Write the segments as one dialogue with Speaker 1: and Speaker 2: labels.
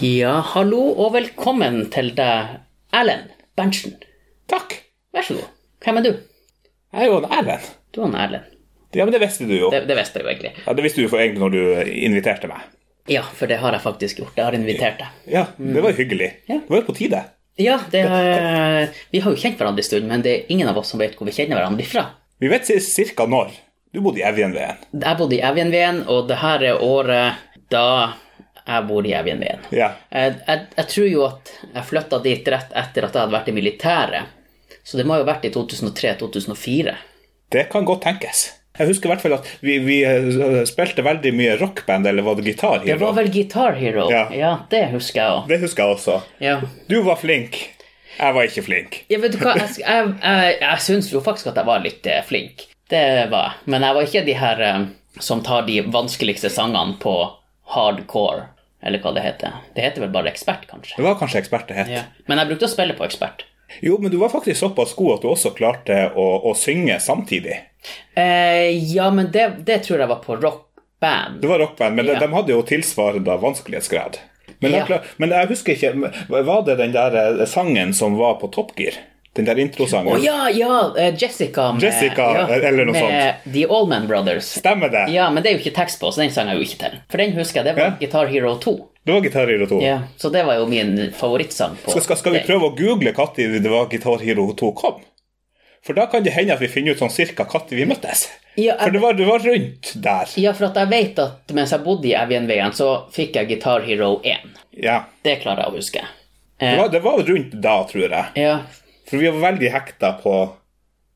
Speaker 1: Ja, hallo og velkommen til deg, Erlend Berntsen.
Speaker 2: Takk.
Speaker 1: Vær så god. Hvem er du?
Speaker 2: Jeg er jo en Erlend.
Speaker 1: Du er en Erlend.
Speaker 2: Ja, men det visste du jo.
Speaker 1: Det, det visste jeg jo egentlig.
Speaker 2: Ja, det visste du for egentlig når du inviterte meg.
Speaker 1: Ja, for det har jeg faktisk gjort. Jeg har invitert deg.
Speaker 2: Ja, det var jo hyggelig.
Speaker 1: Ja.
Speaker 2: Det var jo på tide.
Speaker 1: Ja, det har, vi har jo kjent hverandre en stund, men det er ingen av oss som vet hvor vi kjenner hverandre fra.
Speaker 2: Vi vet cirka når. Du bodde i Evjenveen.
Speaker 1: Jeg bodde i Evjenveen, og det her er året da jeg bor i Evjenveen.
Speaker 2: Ja.
Speaker 1: Jeg, jeg, jeg tror jo at jeg flytta dit rett etter at jeg hadde vært i militæret, så det må jo ha vært i 2003-2004.
Speaker 2: Det kan godt tenkes. Jeg husker i hvert fall at vi, vi eh, spilte veldig mye rockband, eller var det gitar?
Speaker 1: Det var vel Guitar Hero. Ja,
Speaker 2: Ja.
Speaker 1: det husker jeg òg.
Speaker 2: Det husker jeg også.
Speaker 1: Ja.
Speaker 2: Du var flink. Jeg var ikke flink.
Speaker 1: ja, vet du hva, jeg, jeg, jeg, jeg syns jo faktisk at jeg var litt eh, flink. Det var jeg. Men jeg var ikke de her eh, som tar de vanskeligste sangene på hardcore, eller hva det heter. Det heter vel bare ekspert, kanskje.
Speaker 2: Det var kanskje ekspert det het.
Speaker 1: Ja. Men jeg brukte å spille på ekspert.
Speaker 2: Jo, men du var faktisk såpass god at du også klarte å, å synge samtidig.
Speaker 1: Eh, ja, men det, det tror jeg var på rockband.
Speaker 2: Det var rockband, men
Speaker 1: Ja.
Speaker 2: de, de hadde jo tilsvarende vanskelighetsgrad. Men,
Speaker 1: Ja.
Speaker 2: jeg, klar- men jeg husker ikke men Var det den der eh, sangen som var på Top Gear? Den der introsangen?
Speaker 1: Å ja, ja! eh, Jessica med,
Speaker 2: Jessica, eh,
Speaker 1: ja,
Speaker 2: eller noe
Speaker 1: med The Allman Brothers.
Speaker 2: Stemmer det?
Speaker 1: Ja, men det er jo ikke tekst på, så den sang jeg jo ikke til. For den husker jeg, det var
Speaker 2: Ja.
Speaker 1: Guitar Hero 2.
Speaker 2: Det var Gitar Hero 2.
Speaker 1: Ja, så det var jo min favorittsang på
Speaker 2: Skal, skal, skal vi
Speaker 1: det.
Speaker 2: prøve å google når det var Gitar Hero 2 kom? For da kan det hende at vi finner ut sånn cirka når vi møttes.
Speaker 1: Ja, jeg-
Speaker 2: For det var, det var rundt der.
Speaker 1: Ja, for at jeg vet at mens jeg bodde i Evjenveien, så fikk jeg Guitar Hero 1.
Speaker 2: Ja.
Speaker 1: Det klarer jeg å huske.
Speaker 2: Det var, det var rundt da, tror jeg.
Speaker 1: Ja,
Speaker 2: For vi var veldig hekta på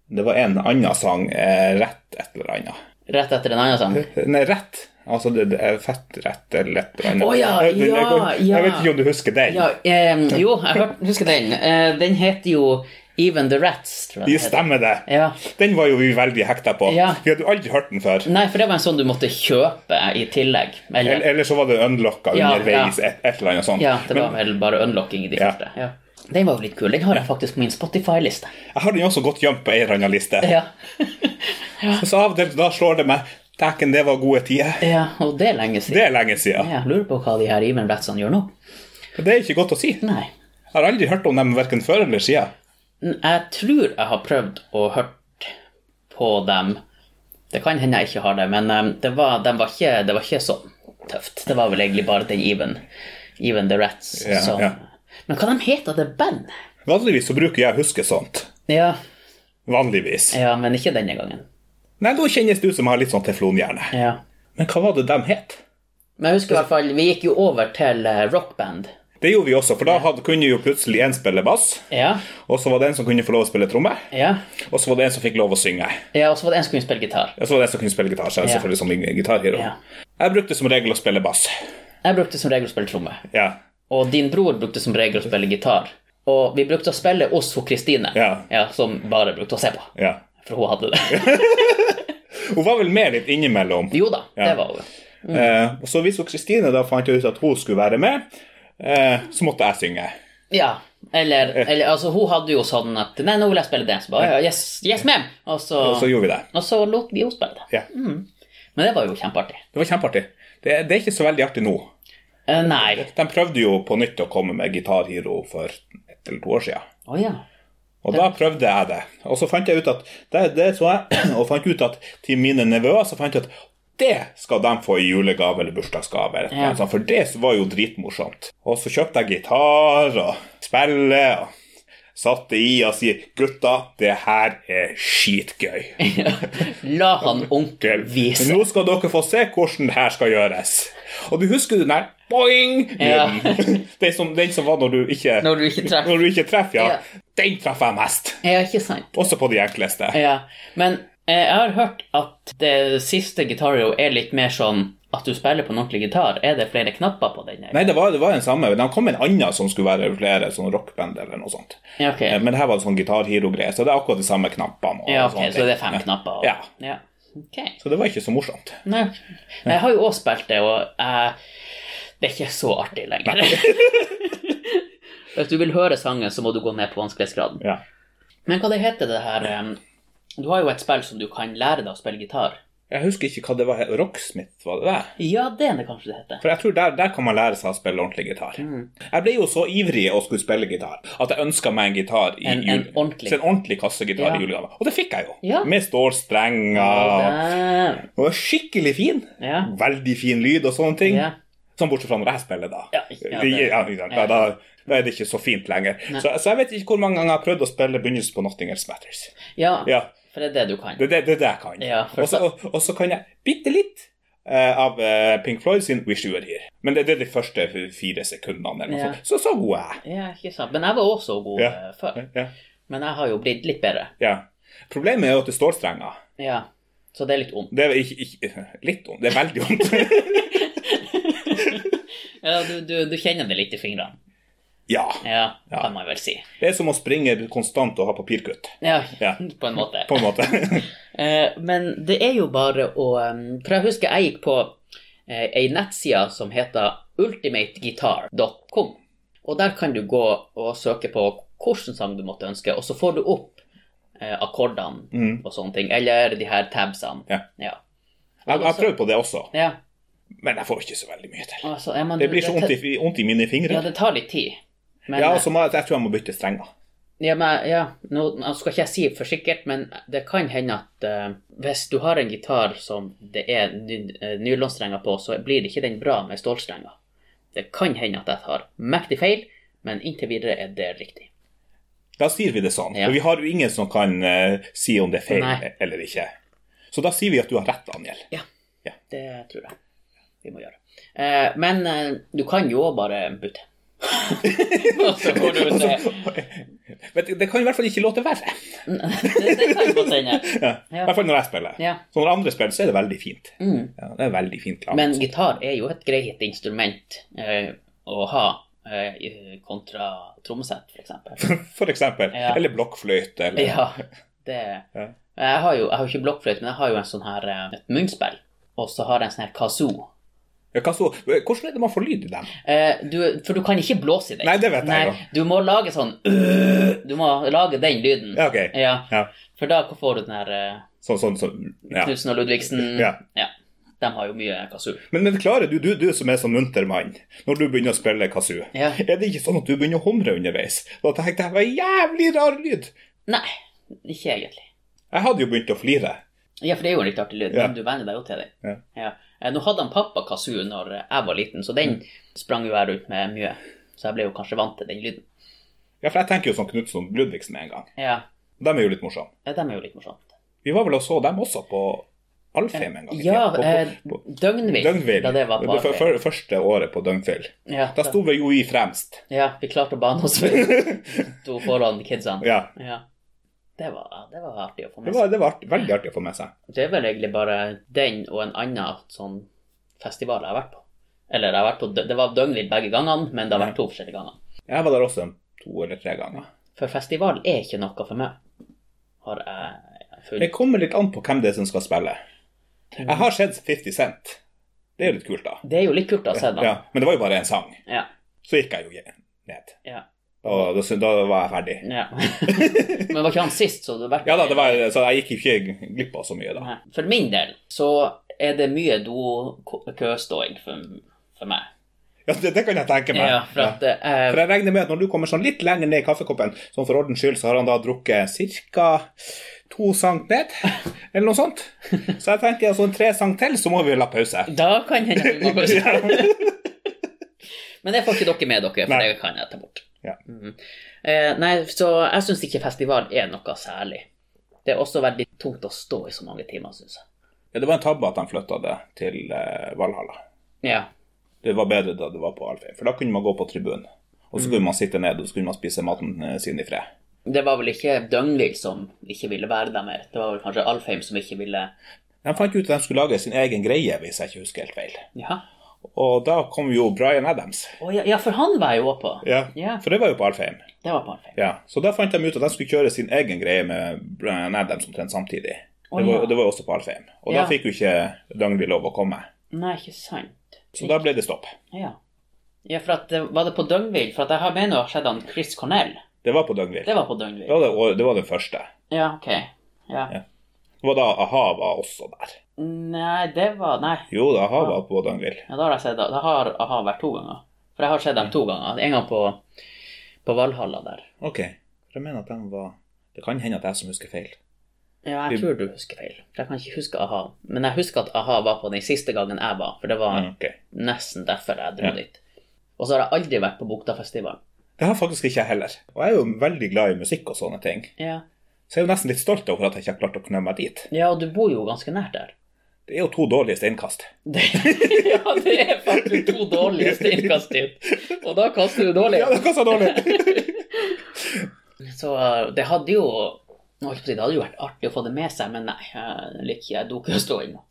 Speaker 2: Det var en annen sang eh, rett et eller annet.
Speaker 1: rett etter en annen sang.
Speaker 2: Nei, rett. Altså, det, det er fett rett eller lett eller annet.
Speaker 1: Å, ja,
Speaker 2: jeg, jeg-
Speaker 1: ja,
Speaker 2: jeg,
Speaker 1: ja.
Speaker 2: jeg vet ikke om du husker den.
Speaker 1: Ja, eh, jo, jeg hørte, husker den. Eh, den heter jo Even the Rats, tror
Speaker 2: Det
Speaker 1: jeg. den heter.
Speaker 2: stemmer det.
Speaker 1: Ja.
Speaker 2: Den var jo vi veldig hekta på.
Speaker 1: Ja.
Speaker 2: Vi hadde jo aldri hørt den før.
Speaker 1: Nei, for det var en sånn du måtte kjøpe i tillegg.
Speaker 2: Eller,
Speaker 1: Eller,
Speaker 2: eller så var det unlocka
Speaker 1: Ja,
Speaker 2: underveis,
Speaker 1: ja.
Speaker 2: Et, et eller annet sånt.
Speaker 1: ja, det var
Speaker 2: Men
Speaker 1: vel bare unlocking i de
Speaker 2: Ja.
Speaker 1: første. Ja. Den var jo litt kul. Den har jeg faktisk på min Spotify-liste.
Speaker 2: jeg har den jo også godt gjemt på ei eller annen liste.
Speaker 1: Ja.
Speaker 2: Så av og til da slår det meg Dæken, det var gode tider.
Speaker 1: ja, og det er lenge siden.
Speaker 2: Det er lenge siden.
Speaker 1: Jeg lurer på hva de her Even Bratsson gjør nå.
Speaker 2: Det er ikke godt å si.
Speaker 1: Nei.
Speaker 2: Jeg har aldri hørt om dem verken før eller siden.
Speaker 1: N- Jeg tror jeg har prøvd å hørt på dem. Det kan hende jeg ikke har det, men em, det var, dem var, ikke, det var ikke så tøft. Det var vel egentlig bare den Even, Even the Rats
Speaker 2: Ja,
Speaker 1: som
Speaker 2: ja.
Speaker 1: Men hva de heter det band?
Speaker 2: Vanligvis så bruker jeg å huske sånt.
Speaker 1: Ja,
Speaker 2: Vanligvis.
Speaker 1: ja, men ikke denne gangen.
Speaker 2: Nei, nå kjennes det ut som jeg har litt sånn teflonhjerne.
Speaker 1: Ja.
Speaker 2: Men hva var det de het?
Speaker 1: Men jeg husker i hvert fall, vi gikk jo over til eh, rockband.
Speaker 2: Det gjorde vi også, for da hadde, kunne jo plutselig én spille bass,
Speaker 1: Ja,
Speaker 2: og så var det en som kunne få lov å spille tromme,
Speaker 1: ja.
Speaker 2: og så var det en som fikk lov å synge.
Speaker 1: ja og så var det en som kunne spille gitar.
Speaker 2: Og så var det en som kunne spille gitar, selv,
Speaker 1: Ja.
Speaker 2: selvfølgelig som min gitarhero.
Speaker 1: Ja.
Speaker 2: Jeg brukte som regel å spille bass.
Speaker 1: Jeg brukte som regel å spille tromme.
Speaker 2: Ja.
Speaker 1: Og din bror brukte som regel å spille gitar. Og vi brukte å spille oss og Kristine,
Speaker 2: Ja.
Speaker 1: som bare brukte å se på.
Speaker 2: ja.
Speaker 1: For hun hadde det.
Speaker 2: Hun var vel med litt innimellom.
Speaker 1: Jo da, det
Speaker 2: Ja.
Speaker 1: var hun.
Speaker 2: Eh, og så hvis hun Kristine da fant ut at hun skulle være med, eh, så måtte jeg synge.
Speaker 1: Ja. Eller, eller altså, hun hadde jo sånn at Nei, nå vil jeg spille det. Så bare, ja, yes, yes ma'am. Og så,
Speaker 2: Og så gjorde vi det.
Speaker 1: og så lot vi henne spille det.
Speaker 2: Ja.
Speaker 1: Men det var jo kjempeartig.
Speaker 2: Det var kjempeartig. Det, det er ikke så veldig artig nå.
Speaker 1: Eh, nei.
Speaker 2: De prøvde jo på nytt å komme med gitarhero for ett eller to år siden.
Speaker 1: Å ja.
Speaker 2: Og da prøvde jeg det. Og så fant jeg ut at det, det så jeg, og fant ut at til mine nevøer så fant jeg at det skal de få i julegave eller bursdagsgave. eller noe
Speaker 1: Ja.
Speaker 2: sånt, For det var jo dritmorsomt. Og så kjøpte jeg gitar og spille og satte i og sier 'Gutta, det her er skitgøy'.
Speaker 1: La han onkel vise.
Speaker 2: Nå skal dere få se hvordan det her skal gjøres. Og du husker den der boing lyden? Den, som, den som var når du ikke
Speaker 1: Når du ikke treffer.
Speaker 2: Når du ikke treffer, ja.
Speaker 1: Ja.
Speaker 2: Den treffer jeg mest.
Speaker 1: Ja, ikke sant?
Speaker 2: Også på de enkleste.
Speaker 1: Ja. Men eh, jeg har hørt at det siste gitarrio er litt mer sånn at du spiller på en ordentlig gitar. Er det flere knapper på den? eller?
Speaker 2: Nei, det var, det var den samme. De kom med en annen som skulle være flere sånn rockband eller noe sånt.
Speaker 1: Ja, ok.
Speaker 2: Eh, Men det her var en sånn gitarhero-greie, så det er akkurat de samme knappene. og
Speaker 1: Ja, ok,
Speaker 2: sånne
Speaker 1: så det er
Speaker 2: ting.
Speaker 1: fem knapper. Og,
Speaker 2: Ja.
Speaker 1: ja. Ok.
Speaker 2: Så det var ikke så morsomt.
Speaker 1: Nei, jeg har jo òg spilt det, og eh, det er ikke så artig lenger. Hvis du vil høre sangen, så må du gå ned på vanskelighetsgraden.
Speaker 2: Ja.
Speaker 1: Men hva det heter det her eh, Du har jo et spill som du kan lære deg å spille gitar.
Speaker 2: Jeg husker ikke hva det var. Rocksmith, var det det?
Speaker 1: Ja, det er det kanskje det heter.
Speaker 2: For jeg tror der, der kan man lære seg å spille ordentlig gitar.
Speaker 1: Mm.
Speaker 2: Jeg ble jo så ivrig å skulle spille gitar at jeg ønska meg en gitar i
Speaker 1: En- en
Speaker 2: jul-
Speaker 1: ordentlig.
Speaker 2: Så en ordentlig kassegitar
Speaker 1: Ja.
Speaker 2: i julegave. Og det fikk jeg jo.
Speaker 1: Ja.
Speaker 2: Med stålstrenger.
Speaker 1: Dæven.
Speaker 2: Den var skikkelig fin.
Speaker 1: Ja.
Speaker 2: Veldig fin lyd og sånne ting.
Speaker 1: Ja.
Speaker 2: Sånn bortsett fra når jeg spiller, da.
Speaker 1: Ja, ja,
Speaker 2: det,
Speaker 1: det-
Speaker 2: ja, ja, da, da, da er det ikke så fint lenger. Så, så jeg vet ikke hvor mange ganger jeg har prøvd å spille begynnelsen på Nothing Else Matters.
Speaker 1: ja,
Speaker 2: Ja,
Speaker 1: for det er det du kan.
Speaker 2: det er det, det, er det jeg kan.
Speaker 1: Ja, for-
Speaker 2: og, så, og, og så kan jeg bitte litt eh, av eh, Pink Floyd sin Wish You Were Here. Men det, det er de første fire sekundene. Eller noe
Speaker 1: Ja.
Speaker 2: sånt. Så så god er jeg.
Speaker 1: Ja, ikke sant. Men jeg var også god
Speaker 2: Ja.
Speaker 1: eh, før.
Speaker 2: Ja,
Speaker 1: Men jeg har jo blitt litt bedre.
Speaker 2: ja. Problemet er jo at det står strenger.
Speaker 1: Ja. Så det er litt vondt.
Speaker 2: Det er ikke, ikke litt vondt. Det er veldig vondt.
Speaker 1: Ja, du, du, du kjenner det litt i fingrene.
Speaker 2: ja.
Speaker 1: Ja,
Speaker 2: Ja.
Speaker 1: kan man vel si.
Speaker 2: Det er som å springe konstant og ha papirkutt,
Speaker 1: Ja,
Speaker 2: Ja.
Speaker 1: på en måte.
Speaker 2: på en måte.
Speaker 1: Eh, Men det er jo bare å eh, For jeg husker jeg gikk på eh, ei nettside som heter ultimateguitar.com. Og der kan du gå og søke på hvilken sang du måtte ønske, og så får du opp eh, akkordene
Speaker 2: Mm.
Speaker 1: og sånne ting. Eller de her tabsene.
Speaker 2: Ja.
Speaker 1: Ja.
Speaker 2: Jeg jeg har prøvd på det også,
Speaker 1: ja.
Speaker 2: men jeg får ikke så veldig mye til.
Speaker 1: Altså, ja, men
Speaker 2: Det
Speaker 1: du-
Speaker 2: blir så vondt i, vondt i mine fingre.
Speaker 1: Ja, det tar litt tid. Men,
Speaker 2: Ja, så må jeg, jeg tror jeg må bytte strenger.
Speaker 1: Ja, men, ja. Nå, nå skal ikke jeg si for sikkert, men det kan hende at eh, hvis du har en gitar som det er ny- eh, nylonstrenger på, så blir det ikke den bra med stålstrenger. Det kan hende at jeg tar mektig feil, men inntil videre er det riktig.
Speaker 2: Da sier vi det sånn.
Speaker 1: Ja.
Speaker 2: For vi har jo ingen som kan eh, si om det er feil
Speaker 1: Nei.
Speaker 2: eller ikke. Så da sier vi at du har rett, Daniel.
Speaker 1: Det tror jeg vi må gjøre. Eh, men eh, du kan jo også bare bytte. Og så går du ut og
Speaker 2: Altså, Men det, det kan i hvert fall ikke låte verre.
Speaker 1: Det, det kan godt hende.
Speaker 2: Ja. I
Speaker 1: Ja.
Speaker 2: hvert fall når jeg spiller.
Speaker 1: Ja.
Speaker 2: Så når andre spiller, så er det veldig fint.
Speaker 1: Mm.
Speaker 2: Ja, det er veldig fint laget.
Speaker 1: Men gitar er jo et greit instrument eh, å ha eh, i- kontra trommesett, f.eks.
Speaker 2: For eksempel.
Speaker 1: Ja.
Speaker 2: Eller blokkfløyte. Eller...
Speaker 1: Ja, det
Speaker 2: Ja.
Speaker 1: Jeg har jo jeg har jo ikke blokkfløyte, men jeg har jo en sånn her, eh, et munnspill. Og så har jeg en sånn her kazoo.
Speaker 2: Ja, hva så? Hvordan er det man får lyd i dem?
Speaker 1: Eh, du, for du kan ikke blåse i den.
Speaker 2: Nei, det vet jeg jo.
Speaker 1: du må lage sånn øh, Du må lage den lyden.
Speaker 2: Ja, ok.
Speaker 1: Ja,
Speaker 2: Ja.
Speaker 1: For da får du den her eh,
Speaker 2: Sånn, sånn, sånn. Ja.
Speaker 1: Knutsen og Ludvigsen.
Speaker 2: Ja.
Speaker 1: De har jo mye kazoo.
Speaker 2: Men, men klarer du, du, du som er sånn munter mann, når du begynner å spille kazoo,
Speaker 1: Ja.
Speaker 2: er det ikke sånn at du begynner å humre underveis? Da tenkte jeg, det var en jævlig rar lyd.
Speaker 1: Nei, ikke egentlig.
Speaker 2: Jeg hadde jo begynt å flire.
Speaker 1: Ja, for det er jo en litt artig lyd,
Speaker 2: Ja.
Speaker 1: men du venner deg jo til det.
Speaker 2: Ja.
Speaker 1: Eh, Nå hadde han pappa kazoo når jeg var liten, så
Speaker 2: Mm.
Speaker 1: den sprang jo jeg rundt med mye. Så jeg ble jo kanskje vant til den lyden.
Speaker 2: Ja, for jeg tenker jo sånn Knutsen og Ludvigsen med en gang.
Speaker 1: Ja,
Speaker 2: De er jo litt morsomme.
Speaker 1: ja dem er jo litt morsomt.
Speaker 2: Vi var vel og så dem også på Alfheim en gang. i
Speaker 1: Ja,
Speaker 2: tiden. På-
Speaker 1: eh,
Speaker 2: på, på,
Speaker 1: Døgnvill,
Speaker 2: Døgnvill.
Speaker 1: da det var på
Speaker 2: Det fø-
Speaker 1: Arve.
Speaker 2: fø- første året på Døgnvill.
Speaker 1: Ja,
Speaker 2: Da sto vi jo i fremst.
Speaker 1: ja, vi klarte å bane oss to foran kidsene.
Speaker 2: Ja,
Speaker 1: Ja. Det var, det var artig å få
Speaker 2: det
Speaker 1: med seg.
Speaker 2: var, det var art- veldig artig å få med seg.
Speaker 1: Det er vel egentlig bare den og en annen sånn festival jeg har vært på. Eller jeg har vært på, Dø- det var Døgnvill begge gangene, men det har vært to forskjellige ganger.
Speaker 2: Jeg var der også en to eller tre ganger.
Speaker 1: For festival er ikke noe for meg, har jeg
Speaker 2: Det
Speaker 1: funnet.
Speaker 2: kommer litt an på hvem det er som skal spille. Jeg har sett 50 Cent. Det er jo litt kult, da.
Speaker 1: Det er jo litt kult å se da.
Speaker 2: Ja, men det var jo bare en sang.
Speaker 1: Ja.
Speaker 2: Så gikk jeg jo ned.
Speaker 1: Ja.
Speaker 2: Og da, da var jeg ferdig.
Speaker 1: ja. Men var ikke han sist, så du har vært
Speaker 2: Ja da, det var, så jeg gikk jo ikke glipp av så mye, da.
Speaker 1: Nei. For min del så er det mye do-køståing for, for meg.
Speaker 2: Ja, Det, det kan jeg tenke meg.
Speaker 1: Ja, for
Speaker 2: Ja.
Speaker 1: at eh,
Speaker 2: For jeg regner med at når du kommer sånn litt lenger ned i kaffekoppen, sånn for ordens skyld, så har han da drukket ca. to sank ned, eller noe sånt. Så jeg tenker altså en tre sank til, så må vi la pause.
Speaker 1: Da kan hende vi må pause.
Speaker 2: Ja.
Speaker 1: Men det får ikke dere med dere, for
Speaker 2: Nei.
Speaker 1: det kan jeg ta bort.
Speaker 2: Ja.
Speaker 1: Mhm. Eh, nei, så jeg syns ikke festival er noe særlig. Det er også veldig tungt å stå i så mange timer, syns jeg.
Speaker 2: Ja, det var en tabbe at de flytta det til eh, Valhalla.
Speaker 1: Ja.
Speaker 2: Det var bedre da det var på Alfheim, for da kunne man gå på tribunen. Og så kunne man sitte ned og så kunne man spise maten eh, sin i fred.
Speaker 1: Det var vel ikke Døgnvill som ikke ville være der mer. Det var vel kanskje Alfheim som ikke ville
Speaker 2: De fant ut at de skulle lage sin egen greie, hvis jeg ikke husker helt feil.
Speaker 1: Ja,
Speaker 2: Og da kom jo Bryan Adams.
Speaker 1: Å, ja, ja for han var jeg jo også på.
Speaker 2: Ja,
Speaker 1: Ja.
Speaker 2: For det var jo på Alfheim.
Speaker 1: Det var på Alfheim.
Speaker 2: Ja, Så da fant de ut at de skulle kjøre sin egen greie med Bryan Adams omtrent samtidig.
Speaker 1: Å,
Speaker 2: Det var,
Speaker 1: ja.
Speaker 2: det var jo også på Alfheim. Og
Speaker 1: Ja.
Speaker 2: da fikk jo ikke Dagny lov å komme.
Speaker 1: Nei, ikke sant.
Speaker 2: Så da ble det stopp.
Speaker 1: Ja. ja, for at eh, Var det på Døgnvill? For at jeg har mener å ha sett han Chris Cornell.
Speaker 2: Det var på Dagny.
Speaker 1: Det var på
Speaker 2: Det,
Speaker 1: Døgnvill.
Speaker 2: var det- og det var den første.
Speaker 1: Ja, ok. Ja.
Speaker 2: Det var da a-ha var også der.
Speaker 1: Nei, det var Nei.
Speaker 2: Jo da, har vært på Dangild.
Speaker 1: Ja, da har jeg sett det. Det har a-ha vært to ganger. For jeg har sett dem to ganger. En gang på, på Valhalla der.
Speaker 2: Ok. For jeg mener at den var Det kan hende at jeg som husker feil.
Speaker 1: Ja,
Speaker 2: Vi-
Speaker 1: jeg tror du husker feil. For jeg kan ikke huske a-ha. Men jeg husker at a-ha var på den siste gangen jeg var, for det var
Speaker 2: Ja, ok.
Speaker 1: nesten derfor jeg dro
Speaker 2: Ja.
Speaker 1: dit. Og så har jeg aldri vært på Buktafestivalen.
Speaker 2: Det har faktisk ikke jeg heller. Og jeg er jo veldig glad i musikk og sånne ting.
Speaker 1: Ja.
Speaker 2: Så jeg er jo nesten litt stolt over at jeg ikke har klart å knø meg dit.
Speaker 1: ja, og du bor jo ganske nært der.
Speaker 2: Det er jo to dårlige steinkast.
Speaker 1: Det, ja, det er faktisk to dårlige steinkast ut. Og da kaster du dårlig.
Speaker 2: Ja, det kan så dårlig.
Speaker 1: Så eh, det hadde jo jeg holdt på å si, Det hadde jo vært artig å få det med seg, men nei, jeg liker ikke jeg dukker å stå inne.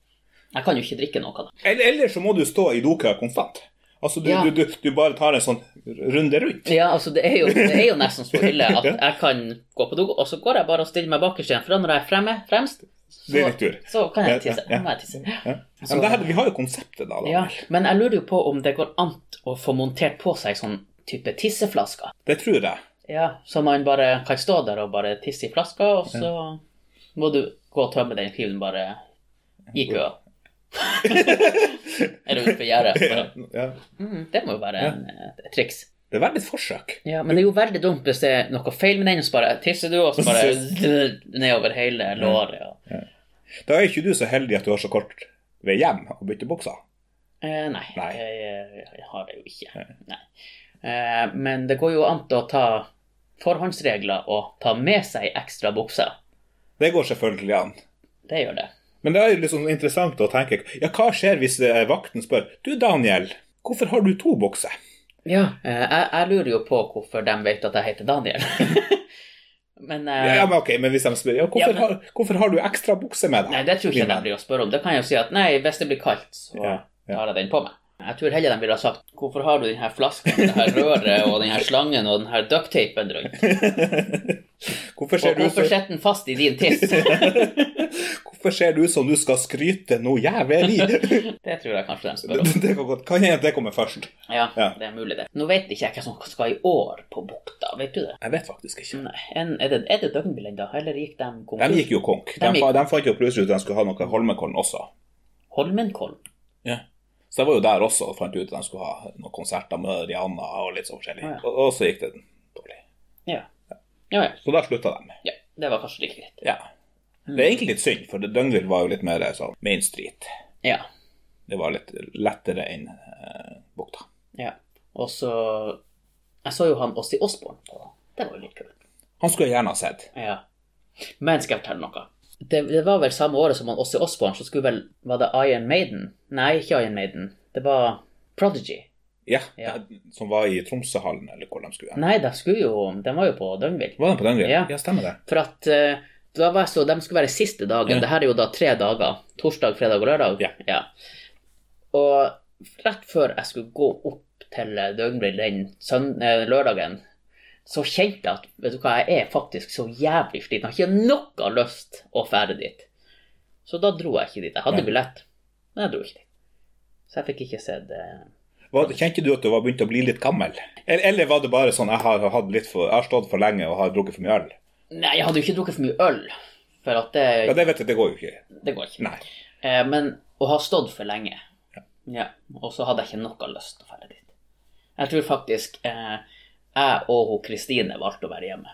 Speaker 1: Jeg kan jo ikke drikke noe. da.
Speaker 2: Eller, ellers så må du stå i dokø konstant. Altså, du,
Speaker 1: Ja.
Speaker 2: du, du, du bare tar en sånn runde rundt.
Speaker 1: Ja, altså Det er jo, det er jo nesten så ille at jeg kan gå på do, og så går jeg bare og stiller meg bakerst igjen. For da når jeg er fremme, fremst,
Speaker 2: Det
Speaker 1: så,
Speaker 2: er litt tur.
Speaker 1: så kan jeg
Speaker 2: Ja,
Speaker 1: tisse.
Speaker 2: ja, ja.
Speaker 1: Nå må jeg tisse.
Speaker 2: Ja. Ja, men det her, vi har jo konseptet, da. da.
Speaker 1: Ja, men jeg lurer jo på om det går an å få montert på seg sånn type tisseflasker.
Speaker 2: Det tror jeg.
Speaker 1: Ja, Så man bare kan stå der og bare tisse i flaska, og så må du gå og tømme den pilen bare i køa. Eller utenfor gjerdet.
Speaker 2: Ja.
Speaker 1: bare, Mm, det må jo være en, eh, et triks.
Speaker 2: Det er verdt et forsøk.
Speaker 1: Ja, Men det er jo veldig dumt hvis det er noe feil med den, og så bare tisser du, og så bare nedover hele låret. Og...
Speaker 2: Da er ikke du så heldig at du har så kort vei hjem og bytte bukser.
Speaker 1: Eh, nei,
Speaker 2: Nei.
Speaker 1: Jeg, jeg har det jo ikke. Nei. Eh, men det går jo an å ta forhåndsregler og ta med seg ekstra bukser.
Speaker 2: Det går selvfølgelig an.
Speaker 1: Det gjør det.
Speaker 2: Men det er jo liksom interessant å tenke Ja, hva skjer hvis eh, vakten spør Du, Daniel, hvorfor har du to bukser?
Speaker 1: Ja, eh, jeg, jeg lurer jo på hvorfor de vet at jeg heter Daniel. men, eh,
Speaker 2: Ja, men ok, men hvis de spør Ja, hvorfor,
Speaker 1: Ja, men-
Speaker 2: Har, hvorfor har du ekstra bukser med deg?
Speaker 1: Nei, det tror jeg ikke
Speaker 2: Lina?
Speaker 1: de blir å spørre om. Det kan jeg jo si at nei, hvis det blir kaldt, så
Speaker 2: Ja, ja.
Speaker 1: tar jeg den på meg. Jeg tror heller de ville ha sagt hvorfor har du den her flasken, det her røret og den her slangen og den her ducktapen rundt?
Speaker 2: Hvorfor ser,
Speaker 1: Og hvorfor
Speaker 2: du, så,
Speaker 1: sitter den fast i din tiss?
Speaker 2: hvorfor ser du som du skal skryte noe jævlig? det,
Speaker 1: Det tror jeg kanskje de spør om.
Speaker 2: det kan godt Kan hende at det kommer først.
Speaker 1: Ja,
Speaker 2: Ja.
Speaker 1: det er mulig, det. Nå vet ikke jeg hva som skal i år på Bukta, vet du det?
Speaker 2: Jeg vet faktisk ikke.
Speaker 1: Nei, en, er det, er det døgnbil ennå, eller gikk de
Speaker 2: De
Speaker 1: konkurs?
Speaker 2: gikk jo konk. De,
Speaker 1: De gikk-
Speaker 2: fa- de fant jo plutselig ut at de skulle ha noe Holmenkollen også.
Speaker 1: Holmenkollen?
Speaker 2: Så jeg var jo der også og fant ut at de skulle ha noen konserter med Rihanna og litt sånn forskjellig.
Speaker 1: Ah, ja.
Speaker 2: og, og så gikk det dårlig.
Speaker 1: Ja. Ja, ja.
Speaker 2: Så da slutta de.
Speaker 1: ja. Det var kanskje like greit.
Speaker 2: Ja. Det er egentlig litt synd, for Døgnvill var jo litt mer sånn main street.
Speaker 1: Ja.
Speaker 2: Det var litt lettere enn eh, Bukta.
Speaker 1: ja. Og så Jeg så jo han Åssi Osborn. på- Det var jo litt kult.
Speaker 2: Han skulle jeg gjerne ha sett.
Speaker 1: Ja. Men skal jeg fortelle noe? Det, det var vel samme året som han Ossi Osborn, så skulle vel Var det Iron Maiden? Nei, ikke Iron Maiden. Det var Prodigy.
Speaker 2: Ja,
Speaker 1: Ja.
Speaker 2: det- Som var i Tromsøhallen, eller hvor de skulle. hen.
Speaker 1: Nei, de skulle jo De var jo på Døgnvill.
Speaker 2: Var den på Døgnvill?
Speaker 1: Ja.
Speaker 2: Ja. stemmer det.
Speaker 1: For at eh, da var jeg så, De skulle være siste dagen.
Speaker 2: Ja.
Speaker 1: Det her er jo da tre dager. Torsdag, fredag og lørdag.
Speaker 2: Ja.
Speaker 1: Og rett før jeg skulle gå opp til Døgnblir den søn eh, lørdagen, så kjente jeg at vet du hva, jeg er faktisk så jævlig sliten. Jeg har ikke noe lyst å fære dit. Så da dro jeg ikke dit. Jeg hadde
Speaker 2: Nei.
Speaker 1: billett, men jeg dro ikke dit. Så jeg fikk ikke sett eh,
Speaker 2: Var, kjente du at du var begynt å bli litt gammel? Eller, eller var det bare sånn jeg har, hatt litt for, jeg har stått for lenge og har drukket for mye øl?
Speaker 1: Nei, jeg hadde jo ikke drukket for mye øl, for at det,
Speaker 2: Ja, Det vet jeg, det går jo ikke.
Speaker 1: det går ikke.
Speaker 2: Nei.
Speaker 1: Eh, men å ha stått for lenge. Ja. Og så hadde jeg ikke noe lyst til å dra dit. Jeg tror faktisk eh, jeg og hun Kristine valgte å være hjemme.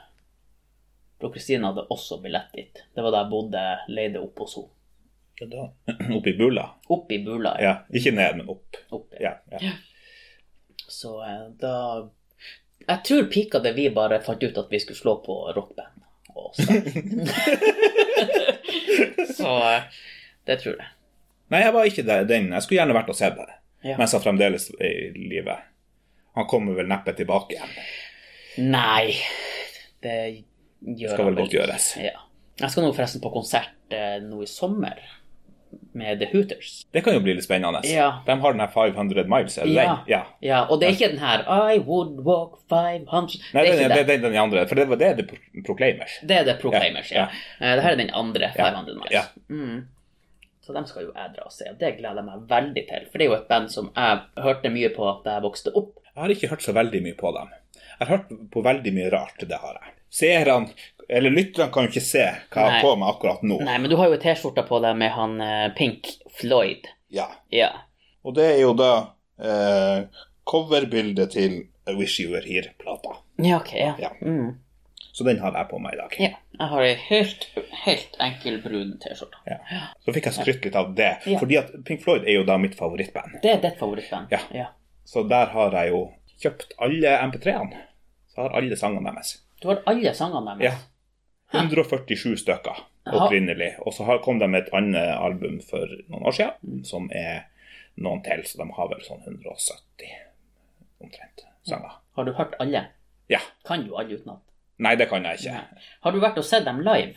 Speaker 1: For Kristine hadde også billett dit. Det var da jeg bodde leide oppe hos henne.
Speaker 2: Ja, da. Opp i bula?
Speaker 1: Oppe i Bula.
Speaker 2: Ja. Ikke ned, men opp.
Speaker 1: Oppe.
Speaker 2: Ja, ja.
Speaker 1: Så eh, da Jeg tror pika det vi bare fant ut at vi skulle slå på rockband. Og så- så eh, det tror jeg.
Speaker 2: Nei, jeg var ikke der, den. Jeg skulle gjerne vært og sett det.
Speaker 1: Ja.
Speaker 2: Mens han fremdeles er i live. Han kommer vel neppe tilbake igjen.
Speaker 1: Nei, det gjør
Speaker 2: Skal
Speaker 1: jeg
Speaker 2: vel godt
Speaker 1: ikke.
Speaker 2: gjøres.
Speaker 1: Ja. Jeg skal nå forresten på konsert eh, nå i sommer med The Hooters.
Speaker 2: Det kan jo bli litt spennende.
Speaker 1: Ja.
Speaker 2: De har den her 500 miles, er det
Speaker 1: Ja.
Speaker 2: den? Ja.
Speaker 1: Ja, og det er ikke den her I would walk 500
Speaker 2: Nei,
Speaker 1: Det er
Speaker 2: den,
Speaker 1: ikke det.
Speaker 2: den, den, den andre. For det, var- det er The Pro- Proclaimers.
Speaker 1: Det er The Proclaimers, ja.
Speaker 2: Ja,
Speaker 1: Eh, Det her er den andre 500 Miles.
Speaker 2: ja.
Speaker 1: Mm. Så dem skal jo jeg dra og se, og det gleder jeg meg veldig til. For det er jo et band som jeg hørte mye på da jeg vokste opp.
Speaker 2: Jeg har ikke hørt så veldig mye på dem. Jeg har hørt på veldig mye rart, det har jeg. Seerne, eller lytterne, kan jo ikke se hva jeg
Speaker 1: Nei.
Speaker 2: har på meg akkurat nå.
Speaker 1: Nei, men du har jo T-skjorta på deg med han eh, Pink Floyd.
Speaker 2: Ja.
Speaker 1: Ja.
Speaker 2: Og det er jo da eh, coverbildet til I Wish You Were Here-plata.
Speaker 1: Ja, ok, ja.
Speaker 2: Ja.
Speaker 1: Mm.
Speaker 2: Så den har jeg på meg i dag.
Speaker 1: ja. Jeg har ei helt, helt enkel brun T-skjorte.
Speaker 2: Så fikk jeg skrytt litt av det,
Speaker 1: Ja.
Speaker 2: fordi at Pink Floyd er jo da mitt favorittband.
Speaker 1: Det er ditt favorittband.
Speaker 2: Ja. Så der har jeg jo kjøpt alle MP3-ene. Så har alle sangene deres.
Speaker 1: Du har alle sangene
Speaker 2: Ja.
Speaker 1: deres.
Speaker 2: 147 stykker
Speaker 1: Jaha.
Speaker 2: opprinnelig. Og så har- kom de med et annet album for noen år siden, som er noen til, så de har vel sånn 170 omtrent sanger.
Speaker 1: Har du hørt alle?
Speaker 2: Ja.
Speaker 1: Kan du alle utenat?
Speaker 2: Nei, det kan jeg ikke.
Speaker 1: Nei. Har du vært og sett dem live?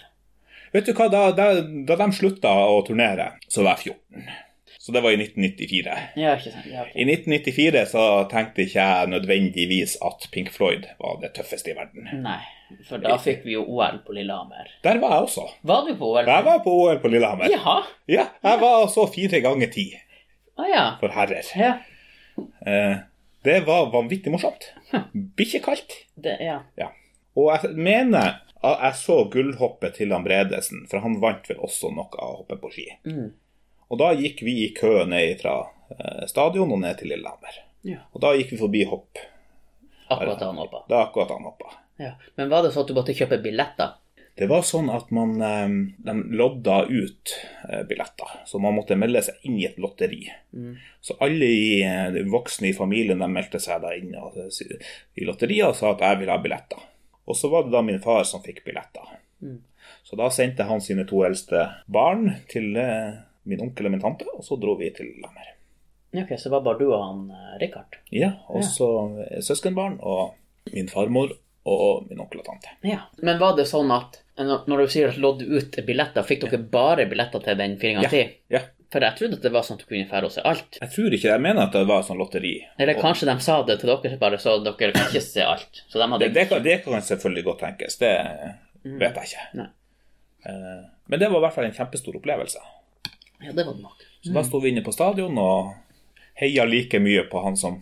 Speaker 2: Vet du hva, da, da, da de slutta å turnere, så var jeg 14. Så det var i 1994.
Speaker 1: Ja, ikke sant. Ja, ok.
Speaker 2: I 1994 så tenkte ikke jeg nødvendigvis at Pink Floyd var det tøffeste i verden.
Speaker 1: Nei, for da fikk vi jo OL på Lillehammer.
Speaker 2: Der var jeg også.
Speaker 1: Var du på OL?
Speaker 2: Jeg var på OL på Lillehammer.
Speaker 1: Jaha.
Speaker 2: Ja, jeg var altså fire ganger ti
Speaker 1: Å ja.
Speaker 2: for herrer.
Speaker 1: ja.
Speaker 2: Eh, det var vanvittig morsomt. Bikkjekaldt.
Speaker 1: Det, ja.
Speaker 2: Ja. Og jeg mener at jeg så gullhoppet til han Bredesen, for han vant vel også noe av å hoppe på ski.
Speaker 1: Mm.
Speaker 2: Og da gikk vi i kø ned fra eh, stadion og ned til Lillehammer.
Speaker 1: ja.
Speaker 2: Og da gikk vi forbi hopp.
Speaker 1: Akkurat da han hoppa.
Speaker 2: Det er akkurat han hoppa.
Speaker 1: Ja. Men var det sånn at du måtte kjøpe billetter?
Speaker 2: Det var sånn at man eh, de lodda ut eh, billetter, så man måtte melde seg inn i et lotteri. Så alle i, eh, de voksne i familien de meldte seg da inn og, s- i lotteriet og sa at jeg vil ha billetter. Og så var det da min far som fikk billetter.
Speaker 1: Mm.
Speaker 2: Så da sendte han sine to eldste barn til eh, min onkel og min tante, og så dro vi til Lillehammer.
Speaker 1: Ja, Ok, så det var bare du og han eh, Richard?
Speaker 2: Ja, og
Speaker 1: Ja.
Speaker 2: så eh, søskenbarn og min farmor og min onkel og tante.
Speaker 1: Ja. Men var det sånn at når når du sier at lodde ut billetter, fikk dere bare billetter til den fire ganger ti?
Speaker 2: Ja,
Speaker 1: For jeg trodde at det var sånn at du kunne fære og se alt.
Speaker 2: jeg tror ikke jeg mener at det var sånn lotteri.
Speaker 1: Eller
Speaker 2: Og-
Speaker 1: kanskje de sa det til dere bare så dere kan ikke se alt. Så de hadde
Speaker 2: Det, det, kan, det kan selvfølgelig godt tenkes, det vet jeg ikke.
Speaker 1: Mm. Nei.
Speaker 2: Eh, Men det var i hvert fall en kjempestor opplevelse.
Speaker 1: Ja, det var det nok.
Speaker 2: Så da sto vi inne på stadion og heia like mye på han som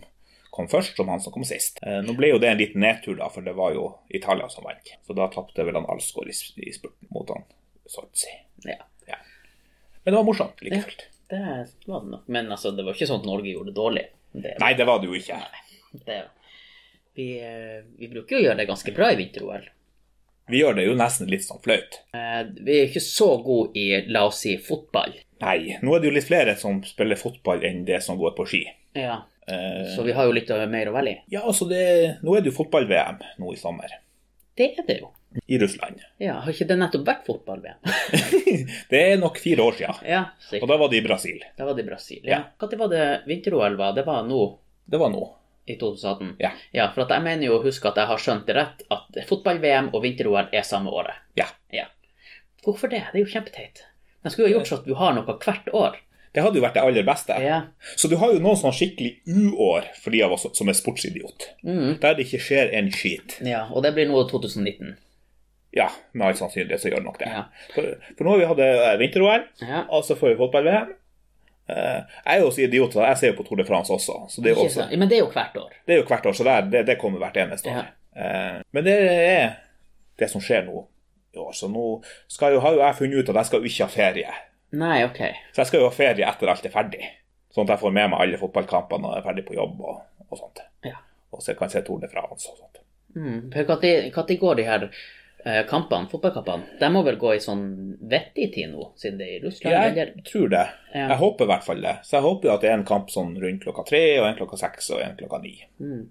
Speaker 2: kom først, som han som kom sist. Eh, Nå ble jo det en liten nedtur, da, for det var jo Italia som vant. Så da tapte vel han Alsgaard i, s- i spurten mot han Sortsi.
Speaker 1: Ja,
Speaker 2: Men det var morsomt like fullt.
Speaker 1: det var det nok. Men altså, det var ikke sånn at Norge gjorde det dårlig. Det,
Speaker 2: Nei, det var det jo ikke.
Speaker 1: det, vi, eh, vi bruker jo å gjøre det ganske bra i vinter-OL.
Speaker 2: Vi gjør det jo nesten litt sånn flaut.
Speaker 1: Eh, Vi er ikke så gode i, la oss si, fotball.
Speaker 2: Nei, nå er det jo litt flere som spiller fotball enn det som går på ski.
Speaker 1: Ja,
Speaker 2: Eh,
Speaker 1: Så vi har jo litt eh, mer å velge i.
Speaker 2: Ja, altså det, nå er det jo fotball-VM nå i sommer.
Speaker 1: Det er det jo.
Speaker 2: i Russland.
Speaker 1: Ja, Har ikke det nettopp vært fotball-VM?
Speaker 2: Det er nok fire år siden.
Speaker 1: Ja,
Speaker 2: Og
Speaker 1: sikkert.
Speaker 2: da var det i Brasil.
Speaker 1: Da var det i Brasil.
Speaker 2: Ja.
Speaker 1: Ja. Når var det vinter-OL var? Det var nå
Speaker 2: Det var nå.
Speaker 1: i 2018?
Speaker 2: Ja.
Speaker 1: ja for at jeg mener jo å huske at jeg har skjønt det rett, at fotball-VM og vinter-OL er samme året.
Speaker 2: Ja.
Speaker 1: Ja. Hvorfor det? Det er jo kjempeteit. De skulle jo gjort sånn at du har noe hvert år.
Speaker 2: Det hadde jo vært det aller beste.
Speaker 1: Ja.
Speaker 2: Så du har jo noen sånn skikkelig uår for de av oss som er sportsidiot.
Speaker 1: Mm.
Speaker 2: Der det ikke skjer en skit.
Speaker 1: ja. Og det blir nå 2019.
Speaker 2: Ja, med all sannsynlighet så gjør det nok det.
Speaker 1: Ja.
Speaker 2: For, for nå har vi hatt eh, vinter-OL,
Speaker 1: Ja.
Speaker 2: og så får vi fotball-VM. Eh, Jeg er jo også idiot, så jeg ser jo på Tour de France også. Så det er jo,
Speaker 1: Ikke
Speaker 2: også,
Speaker 1: sant? Men det er jo hvert år.
Speaker 2: det er jo hvert år, så det, er- det, det kommer hvert eneste år. Eh, Men det er det som skjer nå i år. Så nå skal jo, har jo jeg funnet ut at jeg skal jo ikke ha ferie.
Speaker 1: Nei, ok.
Speaker 2: Så jeg skal jo ha ferie etter alt er ferdig. Sånn at jeg får med meg alle fotballkampene når jeg er ferdig på jobb og, og sånt.
Speaker 1: Ja.
Speaker 2: Og så jeg kan se Tour de France og sånt.
Speaker 1: Mm. For når- Når går de her eh, kampene, fotballkampene? De må vel gå i sånn vettig tid nå, siden det er i Russland?
Speaker 2: Jeg
Speaker 1: eller?
Speaker 2: tror det.
Speaker 1: Ja.
Speaker 2: Jeg håper i hvert fall det. Så jeg håper jo at det er en kamp sånn rundt klokka tre, og en klokka seks og en klokka ni.
Speaker 1: Mm.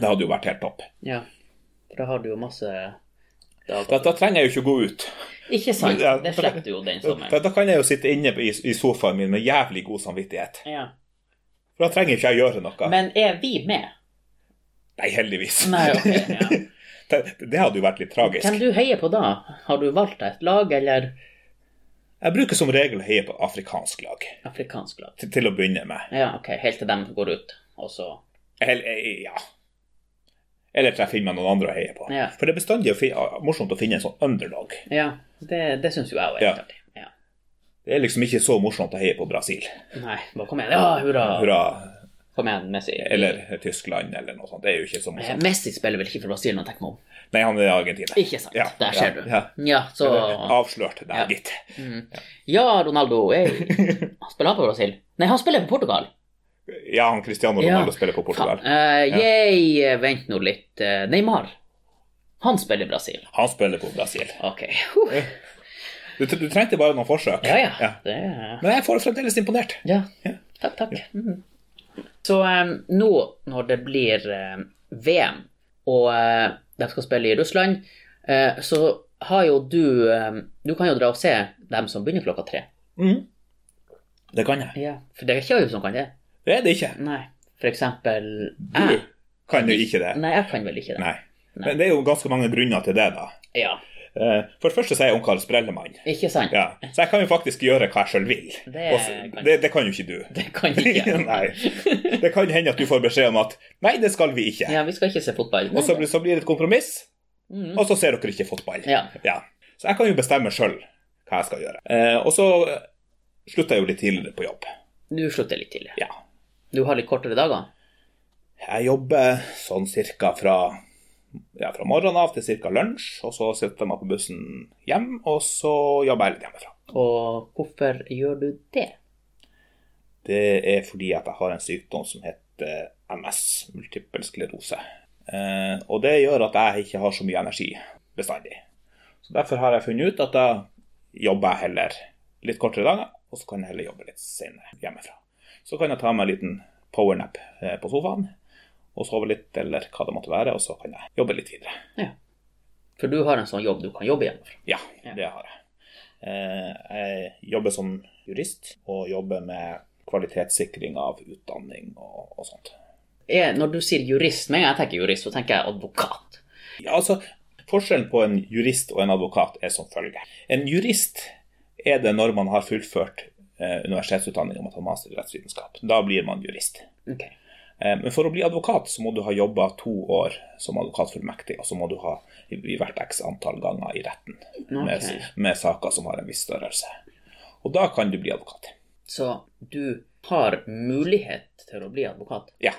Speaker 2: Det hadde jo vært helt topp.
Speaker 1: Ja. For da har du jo masse
Speaker 2: Da,
Speaker 1: dager.
Speaker 2: da trenger jeg jo ikke gå ut.
Speaker 1: Ikke sant?
Speaker 2: Ja,
Speaker 1: Sånn Det
Speaker 2: for-
Speaker 1: slipper du jo den sommeren.
Speaker 2: For da kan jeg jo sitte inne i, i sofaen min med jævlig god samvittighet.
Speaker 1: Ja.
Speaker 2: For da trenger ikke jeg gjøre noe.
Speaker 1: Men er vi med?
Speaker 2: Nei, heldigvis.
Speaker 1: Nei, ok. Ja.
Speaker 2: Det, det hadde jo vært litt tragisk.
Speaker 1: Hvem du heier på da? Har du valgt deg et lag eller
Speaker 2: Jeg bruker som regel å heie på afrikansk lag,
Speaker 1: afrikansk lag?
Speaker 2: til, til å begynne med.
Speaker 1: Ja, ok. Helt til de går ut, og så
Speaker 2: Eller, eh, ja. Eller til jeg finner meg noen andre å heie på.
Speaker 1: Ja.
Speaker 2: For det er bestandig å fi- morsomt å finne en sånn underdog.
Speaker 1: Ja. Det, det syns jo jeg òg er
Speaker 2: Ja.
Speaker 1: litt artig. Ja.
Speaker 2: Det er liksom ikke så morsomt å heie på Brasil.
Speaker 1: Nei, bare kom igjen. Ja, hurra.
Speaker 2: Hurra.
Speaker 1: Kom igjen, Messi.
Speaker 2: Eller Tyskland, eller noe sånt. Det er jo ikke så
Speaker 1: Eh,
Speaker 2: morsomt.
Speaker 1: Messi spiller vel ikke for Brasil, når jeg tenker meg om.
Speaker 2: Nei, han er argentiner.
Speaker 1: Ikke sant.
Speaker 2: Ja,
Speaker 1: Der
Speaker 2: ja,
Speaker 1: ser du.
Speaker 2: ja.
Speaker 1: så
Speaker 2: Avslørt der,
Speaker 1: Ja.
Speaker 2: gitt.
Speaker 1: mm. Ja, Ronaldo. Hey. Han spiller han for Brasil? Nei, han spiller for Portugal.
Speaker 2: Ja, han Cristiano
Speaker 1: Ja.
Speaker 2: Ronaldo spiller på Portugal.
Speaker 1: Faen, eh,
Speaker 2: Ja.
Speaker 1: yay, eh, vent nå litt. Eh, Neymar. Han spiller Brasil.
Speaker 2: Han spiller på Brasil.
Speaker 1: Ok. Huh.
Speaker 2: Du, du trengte bare noen forsøk.
Speaker 1: Ja, ja.
Speaker 2: Ja.
Speaker 1: Det er...
Speaker 2: Men jeg er fremdeles imponert.
Speaker 1: Ja. Takk, takk. Mhm. Så eh, nå når det blir eh, VM, og eh, de skal spille i Russland, eh, så har jo du eh, Du kan jo dra og se dem som begynner klokka tre.
Speaker 2: Mhm. Det kan jeg.
Speaker 1: For det er ikke alle som kan det.
Speaker 2: Det er det ikke.
Speaker 1: Nei. For eksempel
Speaker 2: Du kan jo ikke det.
Speaker 1: Nei, jeg kan vel ikke det.
Speaker 2: Nei. Men det er jo ganske mange grunner til det, da.
Speaker 1: Ja,
Speaker 2: Eh, For det første så er jeg ungkar Sprellemann.
Speaker 1: ikke sant?
Speaker 2: Ja. Så jeg kan jo faktisk gjøre hva jeg sjøl vil.
Speaker 1: Det
Speaker 2: Og så-
Speaker 1: kan-
Speaker 2: det, det kan jo ikke du.
Speaker 1: Det kan ikke
Speaker 2: Nei. Det kan hende at du får beskjed om at nei, det skal vi ikke.
Speaker 1: Ja, vi skal ikke se fotball.
Speaker 2: Og så blir, så blir det et kompromiss,
Speaker 1: Mhm.
Speaker 2: og så ser dere ikke fotball.
Speaker 1: Ja.
Speaker 2: Ja. Så jeg kan jo bestemme sjøl hva jeg skal gjøre. Eh, og så eh, slutter jeg jo litt tidligere på jobb.
Speaker 1: Nå slutter jeg litt tidlig.
Speaker 2: Ja.
Speaker 1: Du har litt kortere dager?
Speaker 2: Jeg jobber sånn cirka fra, ja, fra morgenen av til cirka lunsj, og så sitter jeg meg på bussen hjem, og så jobber jeg litt hjemmefra.
Speaker 1: Og hvorfor gjør du det?
Speaker 2: Det er fordi at jeg har en sykdom som heter eh, MS, multippel sklerose. Eh, og det gjør at jeg ikke har så mye energi bestandig. Så derfor har jeg funnet ut at da jobber jeg heller litt kortere dager, og så kan jeg heller jobbe litt senere hjemmefra. Så kan jeg ta meg en liten powernap eh, på sofaen, og sove litt, eller hva det måtte være, og så kan jeg jobbe litt videre.
Speaker 1: For du har en sånn jobb du kan jobbe hjemmefra.
Speaker 2: Ja,
Speaker 1: Ja.
Speaker 2: det har jeg. Eh, Jeg jobber som jurist, og jobber med kvalitetssikring av utdanning og, og sånt.
Speaker 1: Er- Når du sier jurist, med en gang jeg tenker jurist, så tenker jeg advokat.
Speaker 2: Ja, altså, Forskjellen på en jurist og en advokat er som følger. En jurist er det når man har fullført eh, universitetsutdanning og man tar master i rettsvitenskap. Da blir man jurist.
Speaker 1: Ok.
Speaker 2: Eh, Men for å bli advokat så må du ha jobba to år som advokatfullmektig, og så må du ha i i hvert x antall ganger i retten med,
Speaker 1: Ok.
Speaker 2: med saker som har en viss størrelse. Og da kan du bli advokat.
Speaker 1: Så du har mulighet til å bli advokat,
Speaker 2: Ja.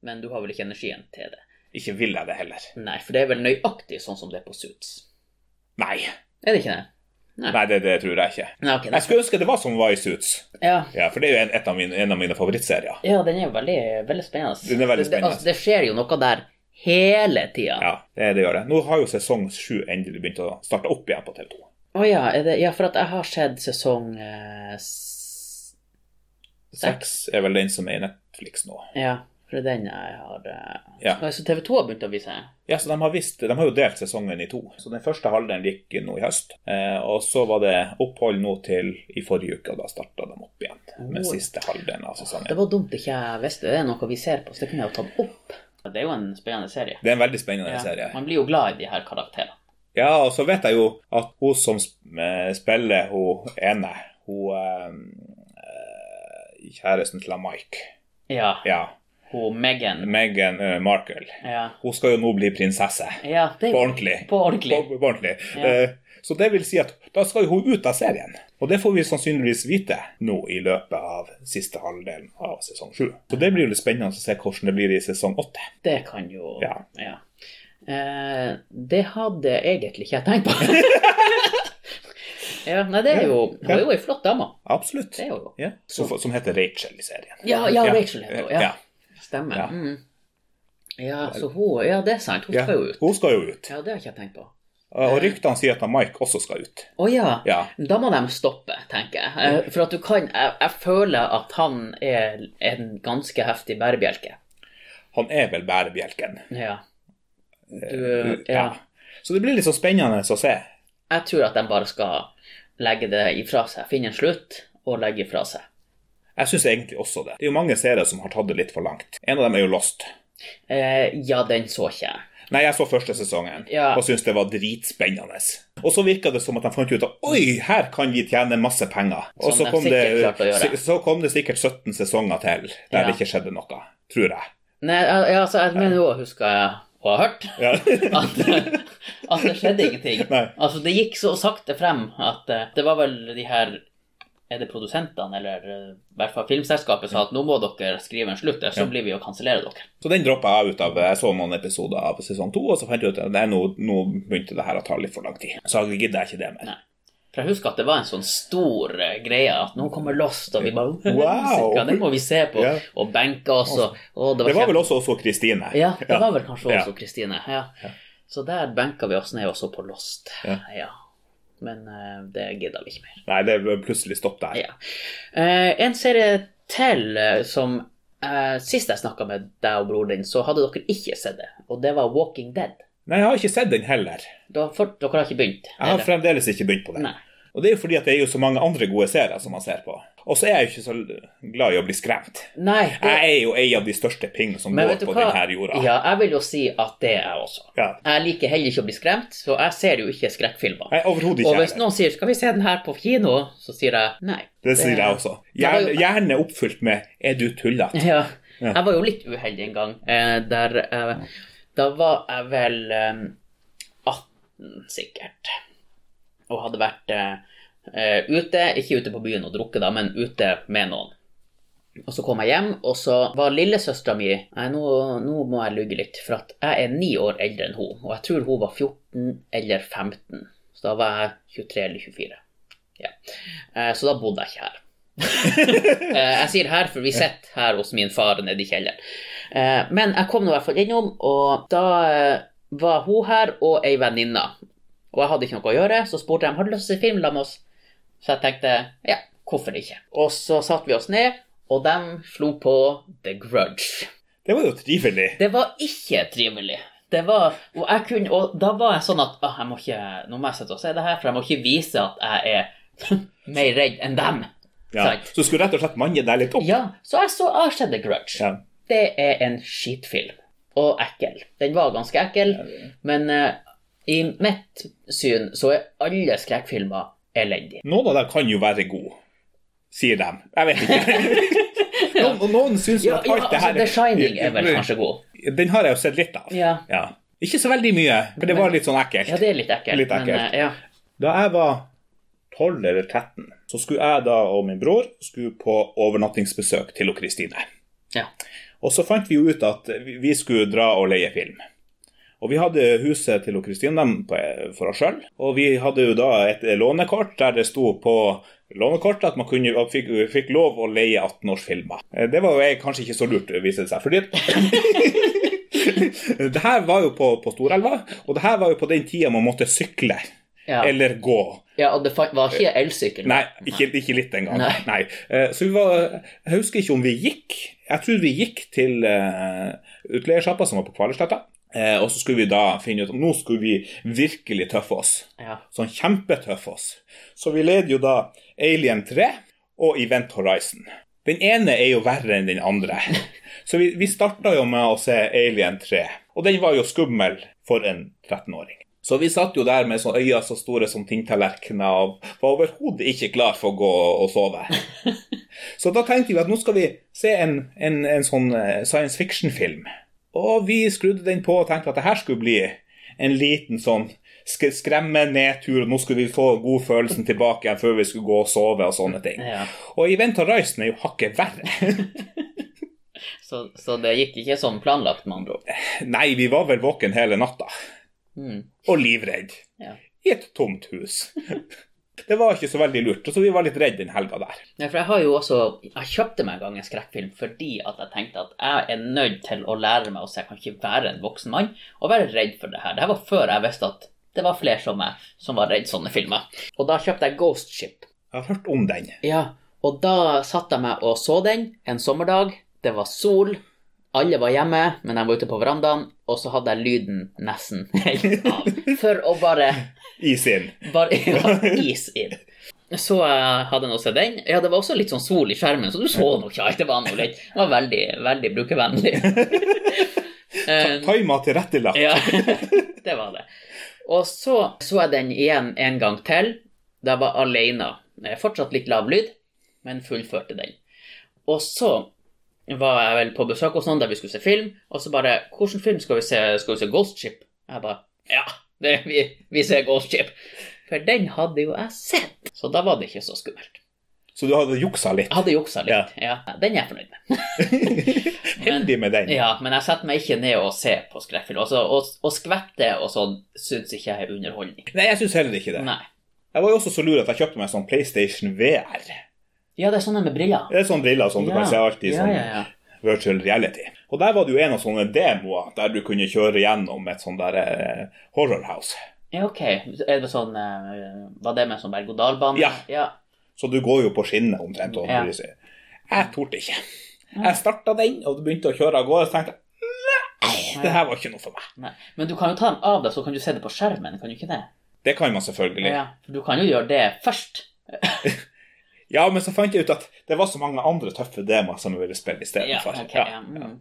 Speaker 1: men du har vel ikke energien til det?
Speaker 2: Ikke vil jeg det heller.
Speaker 1: Nei, for det er vel nøyaktig sånn som det er på Suits.
Speaker 2: Nei.
Speaker 1: Er det ikke det?
Speaker 2: Nei, det, det tror jeg ikke.
Speaker 1: Nei, ok.
Speaker 2: Jeg
Speaker 1: Nei.
Speaker 2: skulle ønske det var som Vice Suits.
Speaker 1: Ja.
Speaker 2: Ja, for det er jo en, et av mine, en av mine favorittserier.
Speaker 1: ja, den er jo veldig, veldig spennende.
Speaker 2: Den er veldig
Speaker 1: Det- Det,
Speaker 2: spennende.
Speaker 1: altså, det skjer jo noe der hele tida.
Speaker 2: Ja, det, det gjør det. Nå har jo sesong sju endelig begynt å starte opp igjen på TV 2.
Speaker 1: Å ja, er det, ja, for at jeg har sett sesong eh, s-
Speaker 2: Seks er vel den som er i Netflix nå.
Speaker 1: Ja, for det er den jeg har eh.
Speaker 2: Ja.
Speaker 1: Så TV 2 har begynt å vise?
Speaker 2: Ja, så de har, visst, de har jo delt sesongen i to. Så den første halvdelen gikk nå i høst. Eh, og så var det opphold nå til i forrige uke, og da starta de opp igjen med
Speaker 1: Oi.
Speaker 2: siste halvdelen av
Speaker 1: Det
Speaker 2: sesongen.
Speaker 1: var dumt ikke jeg visste det. Det er noe vi ser på, så det kunne jeg jo tatt opp. Det er jo en spennende serie.
Speaker 2: Det er en veldig spennende
Speaker 1: Ja.
Speaker 2: serie.
Speaker 1: Man blir jo glad i de her karakterene.
Speaker 2: Ja, og så vet jeg jo at hun som sp- eh, spiller hun ene, hun eh, kjæresten til han Mike,
Speaker 1: Ja.
Speaker 2: ja,
Speaker 1: Hun Megan.
Speaker 2: Meghan eh, Markle,
Speaker 1: Ja.
Speaker 2: hun skal jo nå bli prinsesse.
Speaker 1: ja det er
Speaker 2: På
Speaker 1: jo
Speaker 2: ordentlig.
Speaker 1: på ordentlig.
Speaker 2: På, på ordentlig.
Speaker 1: Ja.
Speaker 2: Eh, så det vil si at da skal jo hun ut av serien. Og det får vi sannsynligvis vite nå i løpet av siste halvdelen av sesong sju. Så det blir jo litt spennende å se hvordan det blir i sesong åtte.
Speaker 1: Det kan jo
Speaker 2: Ja.
Speaker 1: Eh, det hadde egentlig ikke jeg tenkt på. ja, nei, det er jo Hun er jo ei flott dame.
Speaker 2: Absolutt.
Speaker 1: Det er jo
Speaker 2: Ja. Som, som heter Rachel i serien.
Speaker 1: Ja, ja, Rachel heter hun. Ja.
Speaker 2: Ja.
Speaker 1: Stemmer.
Speaker 2: Ja.
Speaker 1: Ja. Mm. ja, så hun Ja, det er sant. Hun skal jo ut.
Speaker 2: Hun skal jo ut.
Speaker 1: Ja, det har ikke jeg tenkt på. Å
Speaker 2: Og ryktene sier at han Mike også skal ut.
Speaker 1: ja.
Speaker 2: Ja.
Speaker 1: Da må de stoppe, tenker jeg. Eh, For at du kan Jeg, jeg føler at han er en ganske heftig bærebjelke.
Speaker 2: Han er vel bærebjelken.
Speaker 1: Ja. Du, Øh, ja.
Speaker 2: Så det blir litt så spennende å se.
Speaker 1: Jeg tror at de bare skal legge det ifra seg. Finne en slutt og legge ifra seg.
Speaker 2: Jeg syns egentlig også det. Det er jo mange serier som har tatt det litt for langt. En av dem er jo Lost.
Speaker 1: Eh, ja, den så ikke jeg.
Speaker 2: Nei, jeg så første sesongen
Speaker 1: Ja.
Speaker 2: og syntes det var dritspennende. Og så virka det som at de fant ut at oi, her kan vi tjene masse penger.
Speaker 1: Som
Speaker 2: Og så
Speaker 1: de
Speaker 2: kom,
Speaker 1: sikkert
Speaker 2: det,
Speaker 1: klarte å gjøre.
Speaker 2: si- så kom det sikkert 17 sesonger til der
Speaker 1: Ja.
Speaker 2: det ikke skjedde noe, tror jeg.
Speaker 1: Nei, al- ja, altså, jeg mener jo å huske og ha hørt
Speaker 2: Ja.
Speaker 1: at, at det skjedde ingenting.
Speaker 2: Nei.
Speaker 1: Altså, det gikk så sakte frem at eh, det var vel de her er det produsentene eller eh, i hvert fall filmselskapet sa at nå må dere skrive en slutt, ellers så blir vi å kansellere dere.
Speaker 2: Så den droppa jeg ut av. Jeg så noen episoder av sesong to, og så fant jeg ut at nei, nå, nå begynte det her å ta litt for lang tid. Så jeg gidder ikke det mer.
Speaker 1: Nei. For jeg husker at det var en sånn stor eh, greie at nå kommer Lost, og vi bare
Speaker 2: Wow!
Speaker 1: «Helsike, Det må vi se på,
Speaker 2: Ja.
Speaker 1: og benke oss, og, og
Speaker 2: Det var
Speaker 1: kjempe-
Speaker 2: vel også også Kristine.
Speaker 1: Ja, det var vel
Speaker 2: Ja.
Speaker 1: kanskje også Kristine. Ja. Så der benka vi oss ned også på Lost.
Speaker 2: Ja.
Speaker 1: Men eh, det gidda vi ikke mer.
Speaker 2: Nei, det ble plutselig stopp der.
Speaker 1: Ja. Eh, en serie til eh, som eh, Sist jeg snakka med deg og broren din, så hadde dere ikke sett det. Og det var Walking Dead.
Speaker 2: Nei, jeg har ikke sett den heller.
Speaker 1: Da, for, dere har ikke begynt?
Speaker 2: Jeg har
Speaker 1: eller?
Speaker 2: fremdeles ikke begynt på den.
Speaker 1: Nei.
Speaker 2: Og det er jo fordi at det er jo så mange andre gode serier som man ser på. Og så er jeg jo ikke så glad i å bli skremt.
Speaker 1: Nei det,
Speaker 2: Jeg er jo ei av de største pingene som
Speaker 1: men
Speaker 2: går
Speaker 1: vet du
Speaker 2: på
Speaker 1: hva?
Speaker 2: denne jorda.
Speaker 1: Ja, jeg vil jo si at det er jeg også.
Speaker 2: Ja.
Speaker 1: Jeg liker heller ikke å bli skremt, så jeg ser jo ikke skrekkfilmer.
Speaker 2: Jeg er overhodet
Speaker 1: Og
Speaker 2: ikke
Speaker 1: hvis
Speaker 2: heller.
Speaker 1: noen sier 'skal vi se den her på kino', så sier jeg nei.
Speaker 2: Det sier jeg også.
Speaker 1: Nei, det
Speaker 2: Gjerne,
Speaker 1: var jo-
Speaker 2: gjerne oppfylt med 'er du tullete'?
Speaker 1: Ja.
Speaker 2: Ja.
Speaker 1: Jeg var jo litt uheldig en gang. Eh, der, eh, da var jeg vel eh, 18 sikkert. Og hadde vært eh, eh, ute, ikke ute på byen og drukket, da, men ute med noen. Og så kom jeg hjem, og så var lillesøstera mi Nei, nå, nå må jeg lugge litt, for at jeg er ni år eldre enn hun, og jeg tror hun var 14 eller 15. Så da var jeg 23 eller 24. Ja. Eh, Så da bodde jeg ikke her. Eh, Jeg sier her, for vi sitter her hos min far nede i kjelleren. Eh, Men jeg kom nå i hvert fall innom, og da eh, var hun her og ei venninne. Og jeg hadde ikke noe å gjøre, så spurte jeg om har du lyst til å se film sammen med oss. Så jeg tenkte ja, hvorfor ikke. Og så satte vi oss ned, og de slo på The Grudge.
Speaker 2: Det var jo trivelig.
Speaker 1: Det var ikke trivelig. Det var, og, jeg kunne, og da var jeg sånn at «Åh, jeg må ikke, nå må jeg sitte og se det her, for jeg må ikke vise at jeg er mer redd enn dem.
Speaker 2: Ja.
Speaker 1: Sant.
Speaker 2: Så skulle rett og slett manne deg litt opp.
Speaker 1: Ja, så jeg så jeg har sett The Grudge.
Speaker 2: Ja.
Speaker 1: Det er en skitfilm. Og ekkel. Den var ganske ekkel, men eh, i mitt syn så er alle skrekkfilmer elendige.
Speaker 2: Noen av dem kan jo være gode, sier de. Jeg vet ikke. Noen, noen syns jo
Speaker 1: Ja,
Speaker 2: at
Speaker 1: ja,
Speaker 2: alt det
Speaker 1: altså,
Speaker 2: her
Speaker 1: The Shining er vel kanskje god.
Speaker 2: Den har jeg jo sett litt av.
Speaker 1: Ja,
Speaker 2: Ikke så veldig mye, for det var litt sånn ekkelt.
Speaker 1: ja det er litt ekkelt.
Speaker 2: Litt ekkelt.
Speaker 1: Men, eh, ja.
Speaker 2: Da jeg var 12 eller 13, så skulle jeg da og min bror skulle på overnattingsbesøk til Kristine.
Speaker 1: Ja.
Speaker 2: Og så fant vi jo ut at vi- vi skulle dra og leie film. Og vi hadde huset til Kristine på- for oss sjøl, og vi hadde jo da et lånekort der det sto på lånekortet at man kunne, at fikk, fikk lov å leie 18-årsfilmer. Eh, Det var jo jeg kanskje ikke så lurt, eh, viser det seg. fordi... det her var jo på, på Storelva, og det her var jo på den tida man måtte sykle
Speaker 1: Ja.
Speaker 2: eller gå.
Speaker 1: ja, og det fa- var ikke elsykkel.
Speaker 2: Nei, ikke, ikke litt engang. Nei.
Speaker 1: Nei.
Speaker 2: Eh, Så vi var Jeg husker ikke om vi gikk. Jeg tror vi gikk til eh, utleiersjappa som var på Kvalersletta. Eh, Og så skulle vi da finne ut om Nå skulle vi virkelig tøffe oss.
Speaker 1: Ja.
Speaker 2: Sånn kjempetøffe oss. Så vi led jo da Alien 3 og Event Horizon. Den ene er jo verre enn den andre. Så vi, vi starta jo med å se Alien 3, og den var jo skummel for en 13-åring. Så vi satt jo der med sånne øyne så store som tingtallerkener og var overhodet ikke klar for å gå og sove. Så da tenkte vi at nå skal vi se en, en, en sånn eh, science fiction-film. Og vi skrudde den på og tenkte at det her skulle bli en liten sånn sk skremme nedtur, og nå skulle vi få god følelsen tilbake igjen før vi skulle gå og sove og sånne ting.
Speaker 1: Ja.
Speaker 2: Og Event Horizon er jo hakket verre.
Speaker 1: Så, så det gikk ikke som planlagt, med andre ord.
Speaker 2: Nei, vi var vel våken hele natta.
Speaker 1: Mm.
Speaker 2: Og livredd.
Speaker 1: Ja.
Speaker 2: I et tomt hus. Det var ikke så veldig lurt, så vi var litt redd den helga der.
Speaker 1: Nei, for jeg har jo også Jeg kjøpte meg en gang en skrekkfilm fordi at jeg tenkte at jeg er nødt til å lære meg å se. Jeg kan ikke være en voksen mann og være redd for det her. Det her var før jeg visste at det var flere som meg som var redd sånne filmer. Og da kjøpte jeg Ghost Ship.
Speaker 2: Jeg har hørt om den.
Speaker 1: Ja, og da satt jeg meg og så den en sommerdag. Det var sol. Alle var hjemme, men jeg var ute på verandaen, og så hadde jeg lyden nesten helt av. For å bare
Speaker 2: I sin.
Speaker 1: bare ja, is inn. Så jeg hadde nå sett den. Ja, det var også litt sånn sol i skjermen, så du så nå ikke alt. Det var nå litt Det var veldig, veldig brukervennlig. Eh,
Speaker 2: Tima tilrettelagt.
Speaker 1: ja, det var det. Og så så jeg den igjen en gang til. Da jeg var alene. Eh, Fortsatt litt lav lyd, men fullførte den. Og så var jeg vel på besøk hos noen der vi skulle se film, og så bare 'Hvilken film skal vi se? Skal vi se Ghost Ship?' Jeg bare 'Ja, det, vi, vi ser Ghost Ship'. For den hadde jo jeg sett, så da var det ikke så skummelt.
Speaker 2: Så du hadde juksa litt.
Speaker 1: Jeg hadde juksa litt. Ja. Den er jeg fornøyd med.
Speaker 2: Heldig med den.
Speaker 1: Ja, men jeg setter meg ikke ned og ser på skrekkfilm. Altså, å, å skvette og sånn syns ikke jeg er underholdning.
Speaker 2: Nei, jeg syns heller ikke det.
Speaker 1: Nei.
Speaker 2: Jeg var jo også så lur at jeg kjøpte meg sånn PlayStation VR.
Speaker 1: Ja, det er sånne med briller.
Speaker 2: Det er sånne briller som du
Speaker 1: Ja.
Speaker 2: kan se alltid i
Speaker 1: Ja,
Speaker 2: sånn
Speaker 1: ja, ja.
Speaker 2: virtual reality. Og der var det jo en av sånne demoer der du kunne kjøre gjennom et sånn der eh, horror house.
Speaker 1: Ja, ok. Er det sånn eh, Var det med sånn berg-og-dal-bane?
Speaker 2: Ja.
Speaker 1: ja.
Speaker 2: Så du går jo på skinnet omtrent. Og
Speaker 1: Ja.
Speaker 2: Jeg torde ikke. Jeg starta den, og du begynte å kjøre av gårde, og så tenkte jeg Nei, det her var ikke noe for meg.
Speaker 1: Nei. Men du kan jo ta dem av deg, så kan du se det på skjermen, kan du ikke det?
Speaker 2: Det kan man selvfølgelig.
Speaker 1: Ja. For du kan jo gjøre det først.
Speaker 2: Ja, men så fant jeg ut at det var så mange andre tøffe demoer som jeg ville spille
Speaker 1: Ja,
Speaker 2: istedenfor.
Speaker 1: ok, ja. Mm.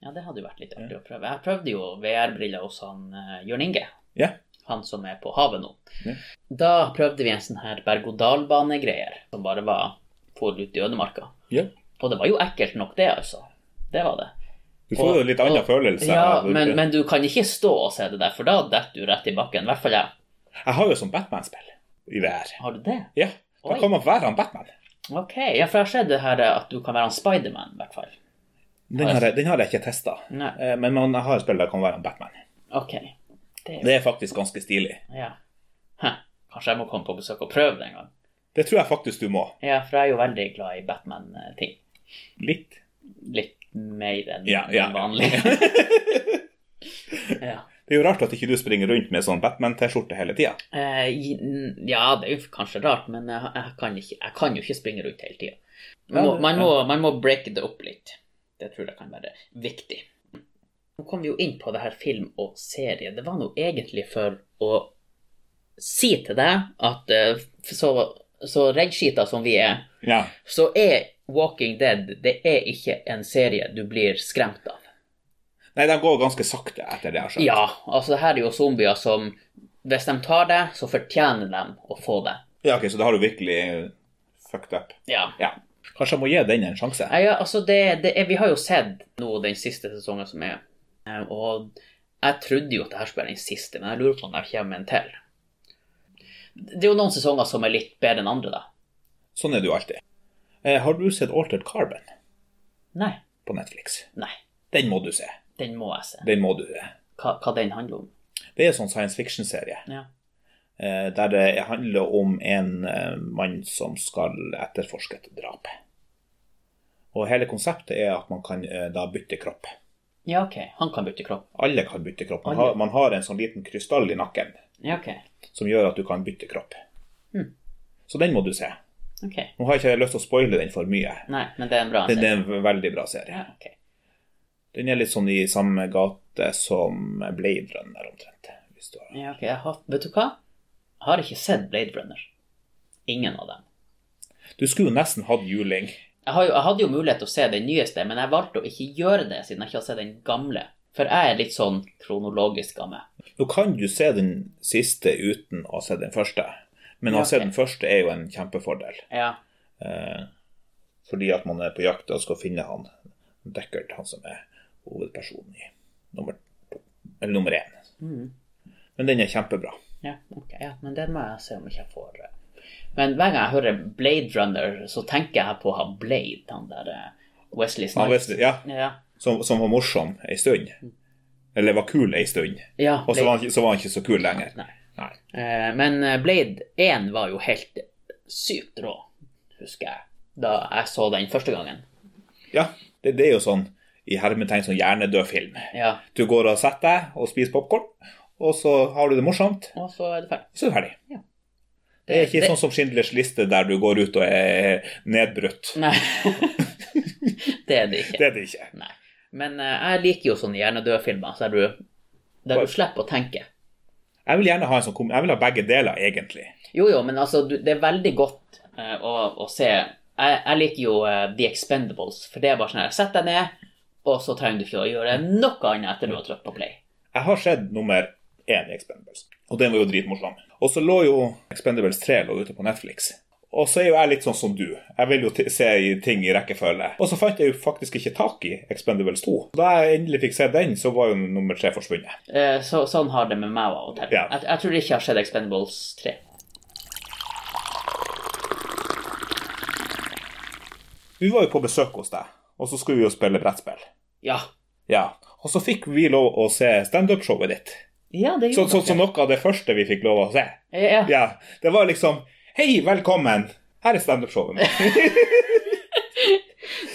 Speaker 1: ja, det hadde jo vært litt artig å prøve. Jeg prøvde jo VR-briller hos han eh, Jørn Inge.
Speaker 2: Ja.
Speaker 1: Han som er på havet nå.
Speaker 2: Ja.
Speaker 1: Da prøvde vi en sånn her berg-og-dal-bane-greier, som bare var for ut i ødemarka.
Speaker 2: Ja.
Speaker 1: Og det var jo ekkelt nok, det, altså. Det var det.
Speaker 2: Du får jo en litt annen
Speaker 1: Og-
Speaker 2: følelse.
Speaker 1: Ja,
Speaker 2: av-
Speaker 1: men, men du kan ikke stå og se det der, for da detter du rett i bakken. I hvert fall jeg.
Speaker 2: Jeg har jo sånn Batman-spill i VR.
Speaker 1: Har du det?
Speaker 2: Ja, da
Speaker 1: Oi.
Speaker 2: kan man være han Batman.
Speaker 1: Ok, ja, for jeg har sett det her eh, at du kan være han Spiderman, i hvert fall.
Speaker 2: Den har jeg, den har jeg ikke testa,
Speaker 1: Nei.
Speaker 2: men man har et spill der kan være han Batman.
Speaker 1: Ok. Det,
Speaker 2: Det er faktisk ganske stilig.
Speaker 1: Ja. Hæ. Kanskje jeg må komme på besøk og prøve det en gang.
Speaker 2: Det tror jeg faktisk du må.
Speaker 1: Ja, for jeg er jo veldig glad i Batman-ting.
Speaker 2: Litt.
Speaker 1: Litt mer enn
Speaker 2: Ja, ja.
Speaker 1: enn vanlig. ja.
Speaker 2: Det er jo rart at ikke du springer rundt med sånn Batman-T-skjorte hele tida.
Speaker 1: Eh, i- ja, det er jo kanskje rart, men jeg, jeg, kan, ikke, jeg kan jo ikke springe rundt hele tida. Man,
Speaker 2: Ja,
Speaker 1: må-
Speaker 2: det-
Speaker 1: man, må- man må break det opp litt. Det tror jeg kan være viktig. Nå kom vi jo inn på det her film og serie. Det var nå egentlig for å si til deg at eh, så, så reddskita som vi er,
Speaker 2: Ja.
Speaker 1: så er Walking Dead det er ikke en serie du blir skremt av.
Speaker 2: Nei, de går ganske sakte etter det jeg har skjønt.
Speaker 1: Ja, altså det her er jo zombier som Hvis de tar deg, så fortjener de å få deg.
Speaker 2: Ja, ok, Så da har du virkelig eh, fucked up.
Speaker 1: Ja.
Speaker 2: Ja. Kanskje jeg må gi den en sjanse.
Speaker 1: Nei, ja, altså det, det er, Vi har jo sett nå den siste sesongen som er, eh, og jeg trodde jo at det her skulle være den siste, men jeg lurer på om det kommer en til. Det er jo noen sesonger som er litt bedre enn andre, da.
Speaker 2: Sånn er det jo alltid. Eh, har du sett Altered Carbon
Speaker 1: Nei.
Speaker 2: på Netflix?
Speaker 1: Nei.
Speaker 2: Den må du se.
Speaker 1: Den må jeg se.
Speaker 2: Den må du se.
Speaker 1: Hva, hva den handler om.
Speaker 2: Det er en sånn science fiction-serie
Speaker 1: Ja.
Speaker 2: eh, der det handler om en eh, mann som skal etterforske et drap. Og hele konseptet er at man kan eh, da bytte kropp.
Speaker 1: ja, OK. Han kan bytte kropp.
Speaker 2: Alle kan bytte kropp. Man
Speaker 1: Alle?
Speaker 2: har, man har en sånn liten krystall i nakken
Speaker 1: Ja, OK.
Speaker 2: som gjør at du kan bytte kropp.
Speaker 1: Hmm.
Speaker 2: Så den må du se.
Speaker 1: ok.
Speaker 2: Nå har jeg ikke lyst til å spoile den for mye.
Speaker 1: Nei, men det er en bra
Speaker 2: Den
Speaker 1: serie.
Speaker 2: er en veldig bra serie.
Speaker 1: Ja, ok.
Speaker 2: Den er litt sånn i samme gate som Blade Runner, omtrent. Hvis du har.
Speaker 1: Ja, ok. Jeg har, vet du hva? Jeg har ikke sett Blade Runner. Ingen av dem.
Speaker 2: Du skulle jo nesten hatt juling.
Speaker 1: Jeg, har jo, jeg hadde jo mulighet til å se den nyeste, men jeg valgte å ikke gjøre det siden jeg ikke har sett den gamle. For jeg er litt sånn kronologisk av meg.
Speaker 2: Nå kan du se den siste uten å ha sett den første, men
Speaker 1: Ja,
Speaker 2: å ha sett
Speaker 1: ok.
Speaker 2: den første er jo en kjempefordel.
Speaker 1: Ja.
Speaker 2: Eh, fordi at man er på jakt og skal finne han Deckard, han som er hovedpersonen i nummer to, eller nummer én.
Speaker 1: Mm.
Speaker 2: Men den er kjempebra.
Speaker 1: ja, ok. Ja, men den må jeg se om ikke jeg får eh. Men hver gang jeg hører Blade Runner, så tenker jeg på han Blade, han der eh, Wesley
Speaker 2: Han
Speaker 1: Snipes.
Speaker 2: visste, ja,
Speaker 1: Ja.
Speaker 2: som, som var morsom ei stund. Eller var kul ei stund.
Speaker 1: ja
Speaker 2: Og så
Speaker 1: Blade-
Speaker 2: var, han ikke- så var han ikke så kul lenger.
Speaker 1: Nei.
Speaker 2: Nei.
Speaker 1: Eh, Men eh, Blade 1 var jo helt sykt rå, husker jeg, da jeg så den første gangen.
Speaker 2: Ja, det, det er jo sånn i hermetegn sånn hjernedød film.
Speaker 1: Ja,
Speaker 2: Du går og setter deg og spiser popkorn, og så har du det morsomt,
Speaker 1: og så er det ferdig.
Speaker 2: og så er du ferdig.
Speaker 1: Ja.
Speaker 2: Det er ikke sånn som Schindlers liste, der du går ut og er nedbrutt.
Speaker 1: Nei. det er det ikke.
Speaker 2: Det er det ikke.
Speaker 1: Nei. Men eh, jeg liker jo sånne hjernedøde-filmer der, du- der du slipper å tenke.
Speaker 2: Jeg vil gjerne ha en sånn kom... Jeg vil ha begge deler, egentlig.
Speaker 1: Jo, jo, men altså, du, det er veldig godt eh, å, å se jeg, jeg liker jo eh, The Expendables, for det er bare sånn her Sett deg ned, og så trenger du ikke å gjøre noe annet etter du har trykt på play.
Speaker 2: Jeg har sett nummer én i Expendables, og den var jo dritmorsom. Og så lå jo Expendables 3 lå ute på Netflix. Og så er jo jeg litt sånn som du. Jeg vil jo t se i ting i rekkefølge. Og så fant jeg jo faktisk ikke tak i Expendables 2. Da jeg endelig fikk se den, så var jo nummer tre forsvunnet.
Speaker 1: Eh, Så, sånn har det med meg av og til.
Speaker 2: Ja.
Speaker 1: Jeg, jeg tror ikke jeg har sett Expendables 3.
Speaker 2: Vi var jo på besøk hos deg, og så skulle vi jo spille brettspill.
Speaker 1: Ja.
Speaker 2: Ja. Og så fikk vi lov å se standup-showet ditt.
Speaker 1: Ja, det
Speaker 2: Så,
Speaker 1: gjorde
Speaker 2: så, så
Speaker 1: dere.
Speaker 2: noe av det første vi fikk lov å se.
Speaker 1: Ja, ja.
Speaker 2: Ja. Det var liksom Hei, velkommen! Her er standup-showet mitt.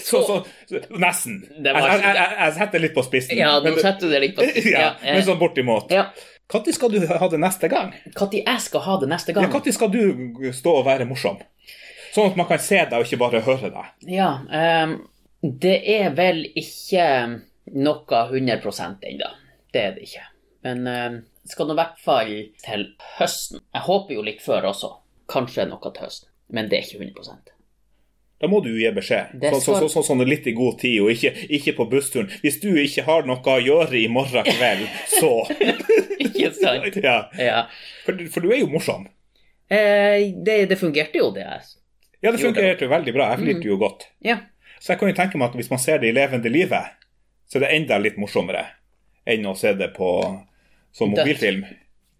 Speaker 2: så, så, så Nesten.
Speaker 1: Det var-
Speaker 2: Jeg, jeg, jeg, jeg setter litt på spissen.
Speaker 1: ja, nå
Speaker 2: men, du-
Speaker 1: setter du det litt på
Speaker 2: ja,
Speaker 1: eh,
Speaker 2: men sånn bortimot.
Speaker 1: ja.
Speaker 2: Når skal du ha det neste gang?
Speaker 1: Når jeg skal ha det neste
Speaker 2: Ja,
Speaker 1: gang?
Speaker 2: Når skal du stå og være morsom? Sånn at man kan se deg og ikke bare høre deg.
Speaker 1: Ja, ehm, det er vel ikke noe 100 ennå. Det er det ikke. Men ehm, skal nå i hvert fall til høsten. Jeg håper jo litt før også. Kanskje noe til høsten. Men det er ikke 100
Speaker 2: Da må du jo gi beskjed.
Speaker 1: Det
Speaker 2: Sånn så,
Speaker 1: skal-
Speaker 2: så, så, sånn litt i god tid, og ikke, ikke på bussturen. Hvis du ikke har noe å gjøre i morgen kveld, så
Speaker 1: Ikke sant?
Speaker 2: ja.
Speaker 1: Ja.
Speaker 2: for, for du er jo morsom.
Speaker 1: Eh, det, det fungerte jo, det her. Jo,
Speaker 2: Ja, det
Speaker 1: det Mm.
Speaker 2: fungerte jo veldig bra. Jeg flirte jo godt.
Speaker 1: Ja.
Speaker 2: Så jeg kan jo tenke meg at hvis man ser det i levende livet, så er det enda litt morsommere enn å se det på som
Speaker 1: Dødt.
Speaker 2: mobilfilm.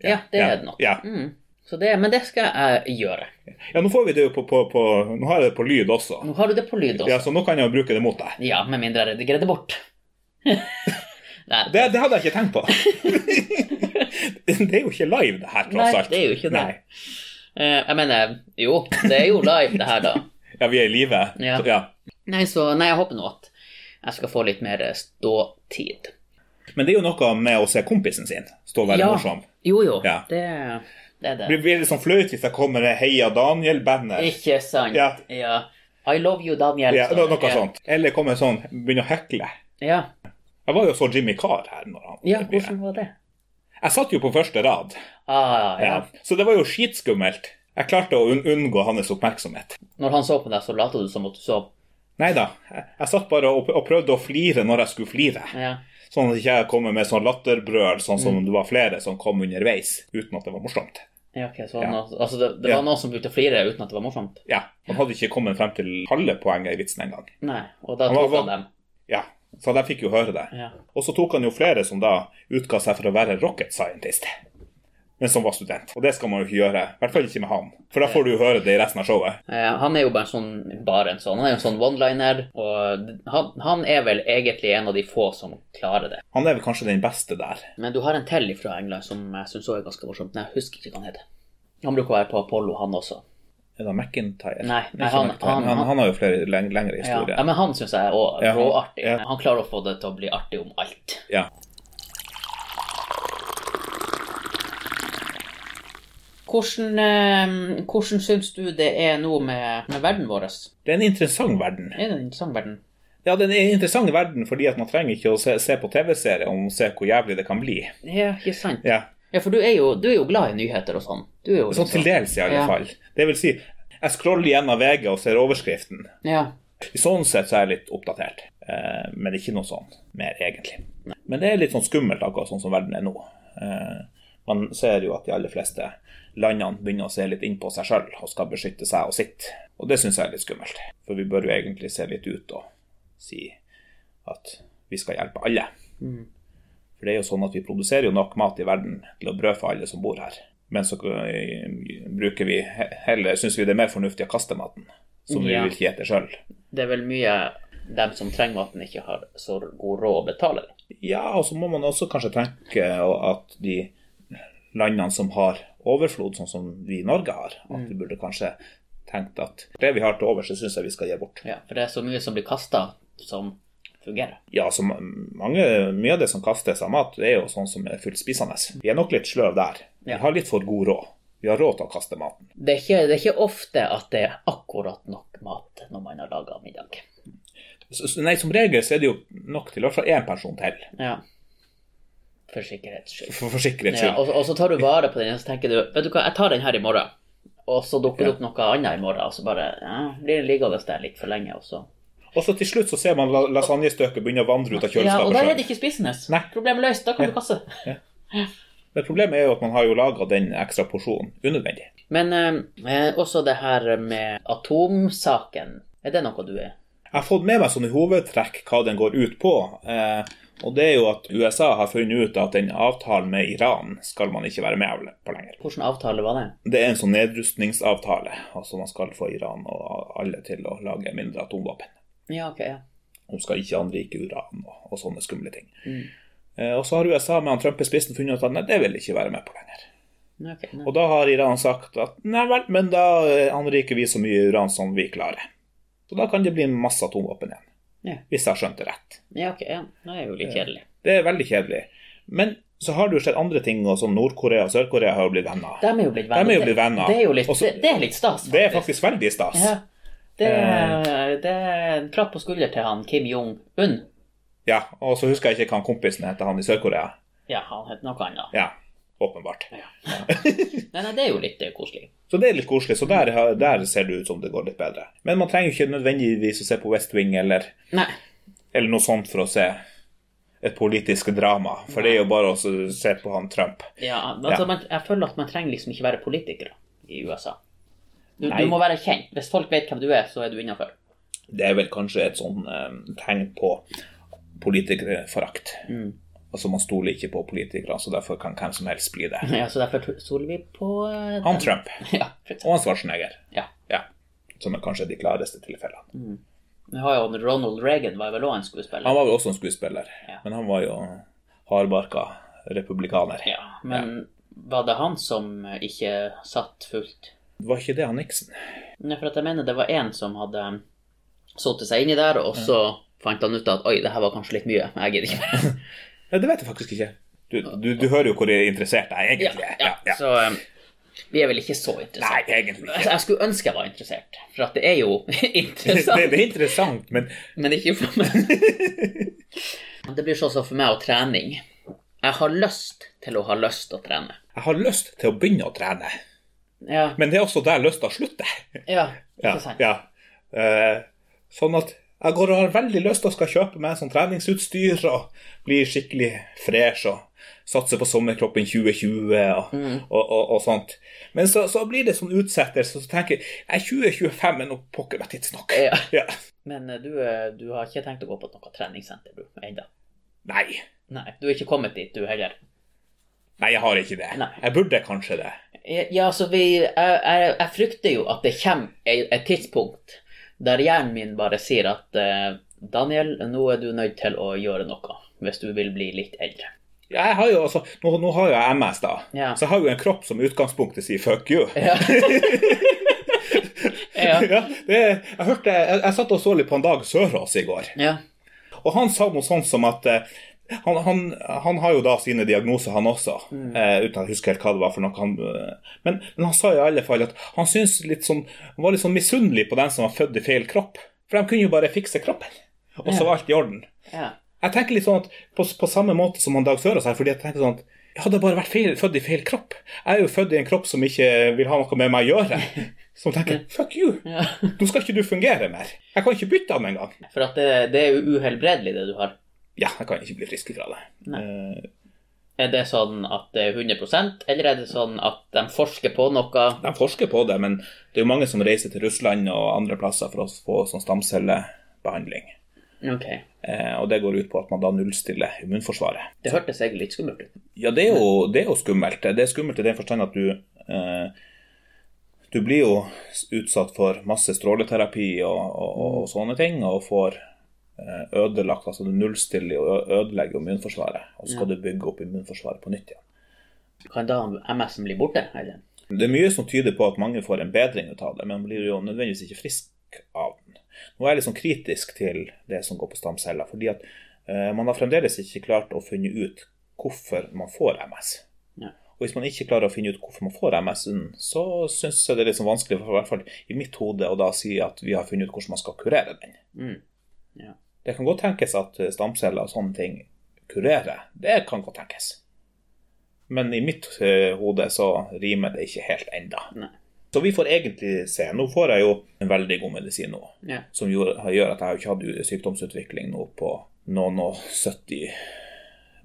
Speaker 1: ja, det
Speaker 2: ja,
Speaker 1: er det nok.
Speaker 2: Ja.
Speaker 1: Mm. Så det, men det skal jeg eh, gjøre.
Speaker 2: ja, nå får vi det jo på, på, på Nå har jeg det på lyd også.
Speaker 1: Nå har du det på lyd også.
Speaker 2: Ja, Så nå kan jeg jo bruke det mot deg.
Speaker 1: Ja, med mindre jeg redigerer det bort. Nei,
Speaker 2: Det, det hadde jeg ikke tenkt på. det er jo ikke live, det her,
Speaker 1: Nei,
Speaker 2: tross alt.
Speaker 1: det er jo ikke det.
Speaker 2: Nei.
Speaker 1: eh, jeg mener, jo, det er jo live, det her, da.
Speaker 2: Ja, vi er i live.
Speaker 1: Ja.
Speaker 2: Så- ja.
Speaker 1: Nei, så nei, jeg håper nå at jeg skal få litt mer eh, ståtid.
Speaker 2: Men det er jo noe med å se kompisen sin stå og være
Speaker 1: Ja.
Speaker 2: morsom.
Speaker 1: Jo, jo.
Speaker 2: Ja.
Speaker 1: Det, det er det.
Speaker 2: Blir, blir det sånn flaut hvis jeg kommer med Heia Daniel-bandet?
Speaker 1: Ikke sant. Ja.
Speaker 2: Ja.
Speaker 1: I love you, Daniel.
Speaker 2: Ja,
Speaker 1: sa
Speaker 2: no,
Speaker 1: jeg.
Speaker 2: noe sånt. Eller kommer sånn, begynner å hekle.
Speaker 1: Ja.
Speaker 2: Jeg var jo så Jimmy Carr her. Når han
Speaker 1: ja, hvordan var det?
Speaker 2: Jeg satt jo på første rad,
Speaker 1: Ah, ja.
Speaker 2: ja. så det var jo skitskummelt. Jeg klarte å un unngå hans oppmerksomhet.
Speaker 1: Når han så på deg, så lata du som at du sov.
Speaker 2: Nei da, jeg, jeg satt bare og, og prøvde å flire når jeg skulle flire.
Speaker 1: Ja. Mm.
Speaker 2: Sånn at ikke jeg kommer med sånn latterbrøl, sånn som det var flere som kom underveis, uten at det var morsomt.
Speaker 1: Ja, ok, så
Speaker 2: Ja.
Speaker 1: Noe, altså det, det
Speaker 2: Ja.
Speaker 1: var noen som begynte å flire uten at det var morsomt?
Speaker 2: Ja, Han hadde ikke kommet frem til halve poenget i vitsen engang.
Speaker 1: Nei, og da
Speaker 2: Han var-
Speaker 1: tok han dem.
Speaker 2: Ja, så de fikk jo høre det.
Speaker 1: Ja.
Speaker 2: Og så tok han jo flere som da utga seg for å være rocket scientist, men som var student. Og det skal man jo ikke gjøre, i hvert fall ikke med han, for da får du jo høre det i resten av showet.
Speaker 1: Eh, han er jo bare en sånn, bare en sånn. Han er jo en sånn one-liner, og han, han er vel egentlig en av de få som klarer det.
Speaker 2: Han er vel kanskje den beste der.
Speaker 1: Men du har en til fra England som jeg syns er ganske morsomt. Nei, jeg husker ikke hva han heter. Han bruker å være på Apollo, han også.
Speaker 2: Er det McIntyre?
Speaker 1: Nei,
Speaker 2: Ikke
Speaker 1: nei, han-
Speaker 2: McIntyre.
Speaker 1: han-
Speaker 2: han,
Speaker 1: han-
Speaker 2: han har jo flere leng lengre
Speaker 1: Ja.
Speaker 2: historier.
Speaker 1: ja, Men han syns jeg er òg
Speaker 2: Ja, han-
Speaker 1: råartig.
Speaker 2: ja.
Speaker 1: Han klarer å få det til å bli artig om alt.
Speaker 2: Ja.
Speaker 1: Hvordan, eh, hvordan syns du det er nå med, med verden vår?
Speaker 2: Det er en interessant verden.
Speaker 1: Er det en interessant verden?
Speaker 2: Ja, det er en interessant verden fordi at man trenger ikke å se, se på TV-serier om å se hvor jævlig det kan bli.
Speaker 1: Ja, ikke sant?
Speaker 2: Ja,
Speaker 1: Ja, for du er jo, du er jo glad i nyheter og sånn. Du er jo
Speaker 2: Sånn til dels, i alle
Speaker 1: Ja.
Speaker 2: fall. Det vil si, jeg scroller gjennom VG og ser overskriften.
Speaker 1: Ja.
Speaker 2: I sånn sett så er jeg litt oppdatert, eh, men ikke noe sånn mer egentlig. Men det er litt sånn skummelt akkurat sånn som verden er nå. Eh, man ser jo at de aller fleste landene begynner å se litt inn på seg sjøl og skal beskytte seg og sitt. Og det syns jeg er litt skummelt, for vi bør jo egentlig se litt ut og si at vi skal hjelpe alle.
Speaker 1: Mm.
Speaker 2: For det er jo sånn at vi produserer jo nok mat i verden til å brødfø alle som bor her. Men så eh, bruker vi he- heller, syns vi det er mer fornuftig å kaste maten, som vi
Speaker 1: Ja.
Speaker 2: vil ikke spise sjøl.
Speaker 1: Det er vel mye dem som trenger maten, ikke har så god råd å betale.
Speaker 2: Ja, og så må man også kanskje tenke at de landene som har overflod, sånn som vi i Norge har, at
Speaker 1: Mm.
Speaker 2: vi burde kanskje tenkt at det vi har til overs, det syns jeg vi skal gi bort.
Speaker 1: Ja, for det er så mye som blir kasta, som fungerer.
Speaker 2: Ja, så ma- mange, Mye av det som kastes av mat, det er jo sånn som er fullspisende. Vi er nok litt sløve der. Vi
Speaker 1: Ja.
Speaker 2: har litt for god råd. Vi har råd til å kaste maten.
Speaker 1: Det er, ikke, det er ikke ofte at det er akkurat nok mat når man har laga middag.
Speaker 2: Så, så- nei, Som regel så er det jo nok til i hvert fall én person til,
Speaker 1: Ja. For sikkerhets skyld.
Speaker 2: for, for sikkerhets
Speaker 1: Ja,
Speaker 2: skyld.
Speaker 1: og, og så tar du vare på den, og så tenker du vet du hva, jeg tar den her i morgen. Og så dukker det opp noe annet i morgen, og så bare ja, blir den liggende der litt for lenge. Og så.
Speaker 2: Og så til slutt så ser man la- lasagnestøket begynne å vandre ut av kjøleskapet.
Speaker 1: Ja, og da
Speaker 2: selv.
Speaker 1: er det ikke spisende.
Speaker 2: Nei.
Speaker 1: Problemet løst, da kan du kaste.
Speaker 2: Men problemet er jo at man har jo laga den ekstra porsjonen unødvendig.
Speaker 1: Men eh, også det her med atomsaken, er det noe du er
Speaker 2: Jeg har fått med meg sånn i hovedtrekk hva den går ut på. Eh, Og det er jo at USA har funnet ut at den avtalen med Iran skal man ikke være med på lenger.
Speaker 1: Hvilken avtale var det?
Speaker 2: Det er en sånn nedrustningsavtale. Altså man skal få Iran og alle til å lage mindre atomvåpen.
Speaker 1: Ja, ok, ja.
Speaker 2: De skal ikke anrike uran og, og sånne skumle ting.
Speaker 1: Mm.
Speaker 2: Eh, Og så har USA med han Trump i spissen funnet ut at nei, det vil de ikke være med på lenger.
Speaker 1: Ja, ok, nei.
Speaker 2: Og da har Iran sagt at nei vel, men da eh, anriker vi så mye uran som vi klarer. Så da kan det bli masse atomvåpen igjen.
Speaker 1: Ja.
Speaker 2: Hvis jeg har skjønt det rett.
Speaker 1: Ja, ok, ja. Det er jo litt kjedelig.
Speaker 2: Det er veldig kjedelig. Men så har det jo skjedd andre ting, og som Nord-Korea og Sør-Korea har jo blitt venner.
Speaker 1: De er jo blitt venner.
Speaker 2: De er jo blitt venner.
Speaker 1: Det er jo litt,
Speaker 2: Også-
Speaker 1: det, det er litt stas.
Speaker 2: Det er faktisk Eh. veldig stas.
Speaker 1: Ja. Det, er- det er en klapp på skulder til han Kim Jong-un.
Speaker 2: Ja, og så husker jeg ikke hva han kompisen heter, han i Sør-Korea.
Speaker 1: Ja, han heter noe annet.
Speaker 2: Ja, åpenbart.
Speaker 1: Nei, nei, det er jo litt eh, koselig.
Speaker 2: Så det er litt koselig, så der, har- der ser det ut som det går litt bedre. Men man trenger jo ikke nødvendigvis å se på West Wing eller,
Speaker 1: Nei.
Speaker 2: eller noe sånt for å se et politisk drama, for det er jo bare å s- se på han Trump.
Speaker 1: Ja, altså,
Speaker 2: Ja.
Speaker 1: Man, jeg føler at man trenger liksom ikke være politiker i USA. Du,
Speaker 2: Nei.
Speaker 1: du må være kjent. Hvis folk vet hvem du er, så er du innafor.
Speaker 2: Det er vel kanskje et sånn eh, tegn på politikerforakt. Altså man stoler ikke på politikere, så derfor kan hvem som helst bli det.
Speaker 1: Ja, så derfor to- stoler vi på eh,
Speaker 2: Han
Speaker 1: den.
Speaker 2: Trump
Speaker 1: Ja, for eksempel.
Speaker 2: og han Schwarzenegger,
Speaker 1: ja.
Speaker 2: ja, som er kanskje de klareste tilfellene.
Speaker 1: Vi har jo Ronald Reagan, var vel òg en skuespiller.
Speaker 2: Han var vel også en skuespiller,
Speaker 1: Ja.
Speaker 2: men han var jo hardbarka republikaner.
Speaker 1: Ja, men var det han som ikke satt fullt?
Speaker 2: Var ikke det han Nixon?
Speaker 1: Nei, for at jeg mener det var en som hadde satt seg inni der,
Speaker 2: Mm.
Speaker 1: og så fant han ut at oi, det her var kanskje litt mye, jeg gidder ikke mer.
Speaker 2: Nei, det vet jeg faktisk ikke. Du, du, du hører jo hvor interessert jeg egentlig er. Ja, ja.
Speaker 1: Så eh, vi er vel ikke så interessert.
Speaker 2: Nei, egentlig
Speaker 1: Altså,
Speaker 2: ikke.
Speaker 1: jeg skulle ønske jeg var interessert, for at det er jo
Speaker 2: Det,
Speaker 1: interessant.
Speaker 2: det er interessant, men
Speaker 1: Men ikke for meg. det blir sånn som for meg og trening. Jeg har lyst til å ha lyst til å trene.
Speaker 2: jeg har lyst til å begynne å trene.
Speaker 1: Ja,
Speaker 2: Men det er også der lysta slutter.
Speaker 1: ja,
Speaker 2: Ja,
Speaker 1: ikke sant.
Speaker 2: ja. Eh, sånn at jeg går og har veldig lyst til å skal kjøpe meg sånn treningsutstyr og bli skikkelig fresh og satse på sommerkroppen 2020 og,
Speaker 1: Mm.
Speaker 2: og, og, og sånt. Men så, så blir det sånn utsettelse, og så tenker jeg "Nei, 2025 er nå pokker meg tidsnok.
Speaker 1: Ja.
Speaker 2: Ja.
Speaker 1: Men eh, du, eh, du har ikke tenkt å gå på noe treningssenter du, ennå?
Speaker 2: Nei.
Speaker 1: Nei, du er ikke kommet dit du heller?
Speaker 2: Nei, jeg har ikke det.
Speaker 1: Nei.
Speaker 2: Jeg burde kanskje det.
Speaker 1: Ja, altså vi Jeg, jeg, jeg frykter jo at det kommer et, et tidspunkt der hjernen min bare sier at eh, Daniel, nå er du nødt til å gjøre noe hvis du vil bli litt eldre.
Speaker 2: Jeg har jo altså, nå, nå har jo jeg MS, da.
Speaker 1: Ja.
Speaker 2: Så jeg har jo en kropp som i utgangspunktet sier 'fuck you'.
Speaker 1: Ja. ja.
Speaker 2: Ja, det, jeg, hørte, jeg, jeg satt og så litt på en Dag Sørås i går.
Speaker 1: ja.
Speaker 2: Og han sa noe sånt som at eh, han, han, han har jo da sine diagnoser, han også, eh, uten at jeg husker helt hva det var for noe. Han, eh, men, men han sa i alle fall at han syntes litt sånn, han var litt sånn misunnelig på den som var født i feil kropp. For de kunne jo bare fikse kroppen, og så var alt i orden.
Speaker 1: ja.
Speaker 2: Jeg tenker litt sånn at på, på samme måte som han Dag Sørås her, fordi jeg tenker sånn at jeg hadde bare vært feil, født i feil kropp. Jeg er jo født i en kropp som ikke vil ha noe med meg å gjøre. Som tenker 'fuck you',
Speaker 1: Ja.
Speaker 2: nå skal ikke du fungere mer. Jeg kan ikke bytte ham engang.
Speaker 1: For at det, det er jo uhelbredelig, det du har.
Speaker 2: Ja, jeg kan ikke bli frisk fra det. Eh,
Speaker 1: Er det sånn at det er 100 eller er det sånn at de forsker på noe?
Speaker 2: De forsker på det, men det er jo mange som reiser til Russland og andre plasser for å få sånn stamcellebehandling.
Speaker 1: Ok.
Speaker 2: Eh, og det går ut på at man da nullstiller immunforsvaret.
Speaker 1: Det hørtes egentlig litt skummelt ut.
Speaker 2: Ja, det er jo, det er jo skummelt. Det er skummelt i den forstand at du eh, Du blir jo utsatt for masse stråleterapi og, og, og sånne ting, og får eh, ødelagt Altså du nullstiller og ø- ødelegger immunforsvaret, og så skal du bygge opp immunforsvaret på nytt igjen.
Speaker 1: Kan da MS-en bli borte? Eller?
Speaker 2: Det er mye som tyder på at mange får en bedring ut av det, men blir jo nødvendigvis ikke frisk av den. Nå er jeg litt sånn kritisk til det som går på stamceller, fordi at eh, man har fremdeles ikke klart å finne ut hvorfor man får MS.
Speaker 1: Ja.
Speaker 2: Og hvis man ikke klarer å finne ut hvorfor man får MS-en, så syns jeg det er litt sånn vanskelig, for i hvert fall i mitt hode, å da si at vi har funnet ut hvordan man skal kurere den.
Speaker 1: Mm. Ja.
Speaker 2: Det kan godt tenkes at eh, stamceller og sånne ting kurerer. Det kan godt tenkes. Men i mitt eh, hode så rimer det ikke helt enda.
Speaker 1: Nei.
Speaker 2: Så vi får egentlig se. Nå får jeg jo en veldig god medisin nå,
Speaker 1: Ja.
Speaker 2: som gjør, gjør at jeg har ikke hatt sykdomsutvikling nå på noen og 70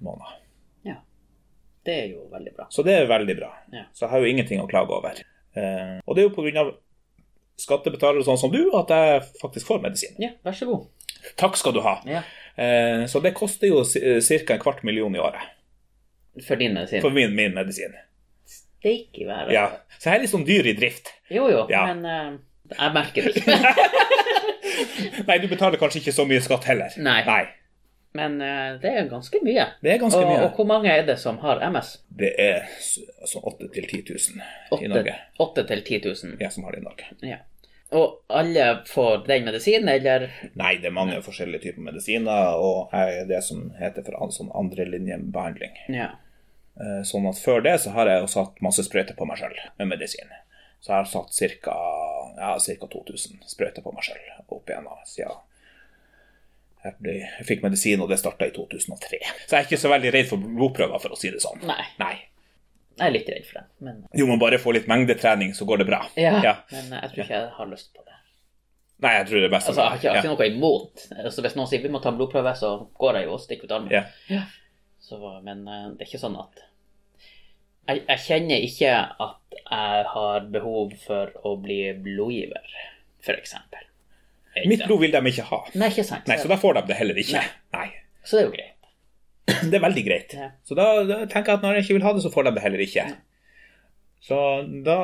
Speaker 2: måneder.
Speaker 1: ja. Det er jo veldig bra.
Speaker 2: Så det er veldig bra.
Speaker 1: Ja.
Speaker 2: Så jeg har jo ingenting å klage over. Eh, og det er jo pga. skattebetalere sånn som du at jeg faktisk får medisin.
Speaker 1: Ja, vær så god.
Speaker 2: Takk skal du ha.
Speaker 1: Ja.
Speaker 2: Eh, Så det koster jo ca. en kvart medion i året
Speaker 1: For din medisin.
Speaker 2: for min, min medisin.
Speaker 1: Steik i været.
Speaker 2: Ja. Så jeg er litt sånn dyr i drift.
Speaker 1: Jo, jo,
Speaker 2: Ja.
Speaker 1: men eh, jeg merker det ikke.
Speaker 2: Nei, du betaler kanskje ikke så mye skatt heller.
Speaker 1: Nei. men eh, det er ganske mye.
Speaker 2: Det er ganske
Speaker 1: og,
Speaker 2: mye.
Speaker 1: og hvor mange er det som har MS?
Speaker 2: Det er s- altså 8 000-10 000 i Norge
Speaker 1: 8 til 10 000.
Speaker 2: jeg som har det i Norge.
Speaker 1: Ja. Og alle får den medisinen, eller
Speaker 2: Nei, det er mange forskjellige typer medisiner, og jeg er det som heter for an- sånn andrelinjebehandling.
Speaker 1: Ja.
Speaker 2: Eh, Sånn at før det så har jeg jo satt masse sprøyter på meg sjøl med medisin. Så jeg har satt ca. Ja, cirka 2000 sprøyter på meg sjøl opp igjennom siden jeg, ble, jeg fikk medisin, og det starta i 2003. Så jeg er ikke så veldig redd for blodprøver, for å si det sånn.
Speaker 1: Nei.
Speaker 2: Nei.
Speaker 1: Jeg er litt redd for det, men
Speaker 2: Jo, man bare får litt mengdetrening, så går det bra.
Speaker 1: ja.
Speaker 2: Ja.
Speaker 1: Men eh, jeg tror ikke jeg har lyst på det.
Speaker 2: Nei, jeg tror det er best
Speaker 1: Altså, jeg har ikke, jeg har ikke noe imot. Altså, hvis noen sier vi må ta en blodprøve, så går jeg jo og stikker ut armen.
Speaker 2: Ja.
Speaker 1: Ja. Så, men eh, det er ikke sånn at jeg, jeg kjenner ikke at jeg har behov for å bli blodgiver, f.eks.
Speaker 2: Mitt blod vil de ikke ha.
Speaker 1: Nei, ikke sant.
Speaker 2: Nei, så da får de det heller ikke. Nei.
Speaker 1: så det er jo greit.
Speaker 2: Det er veldig greit.
Speaker 1: Ja.
Speaker 2: Så da, da tenker jeg at når jeg ikke vil ha det, så får de det heller ikke. Så da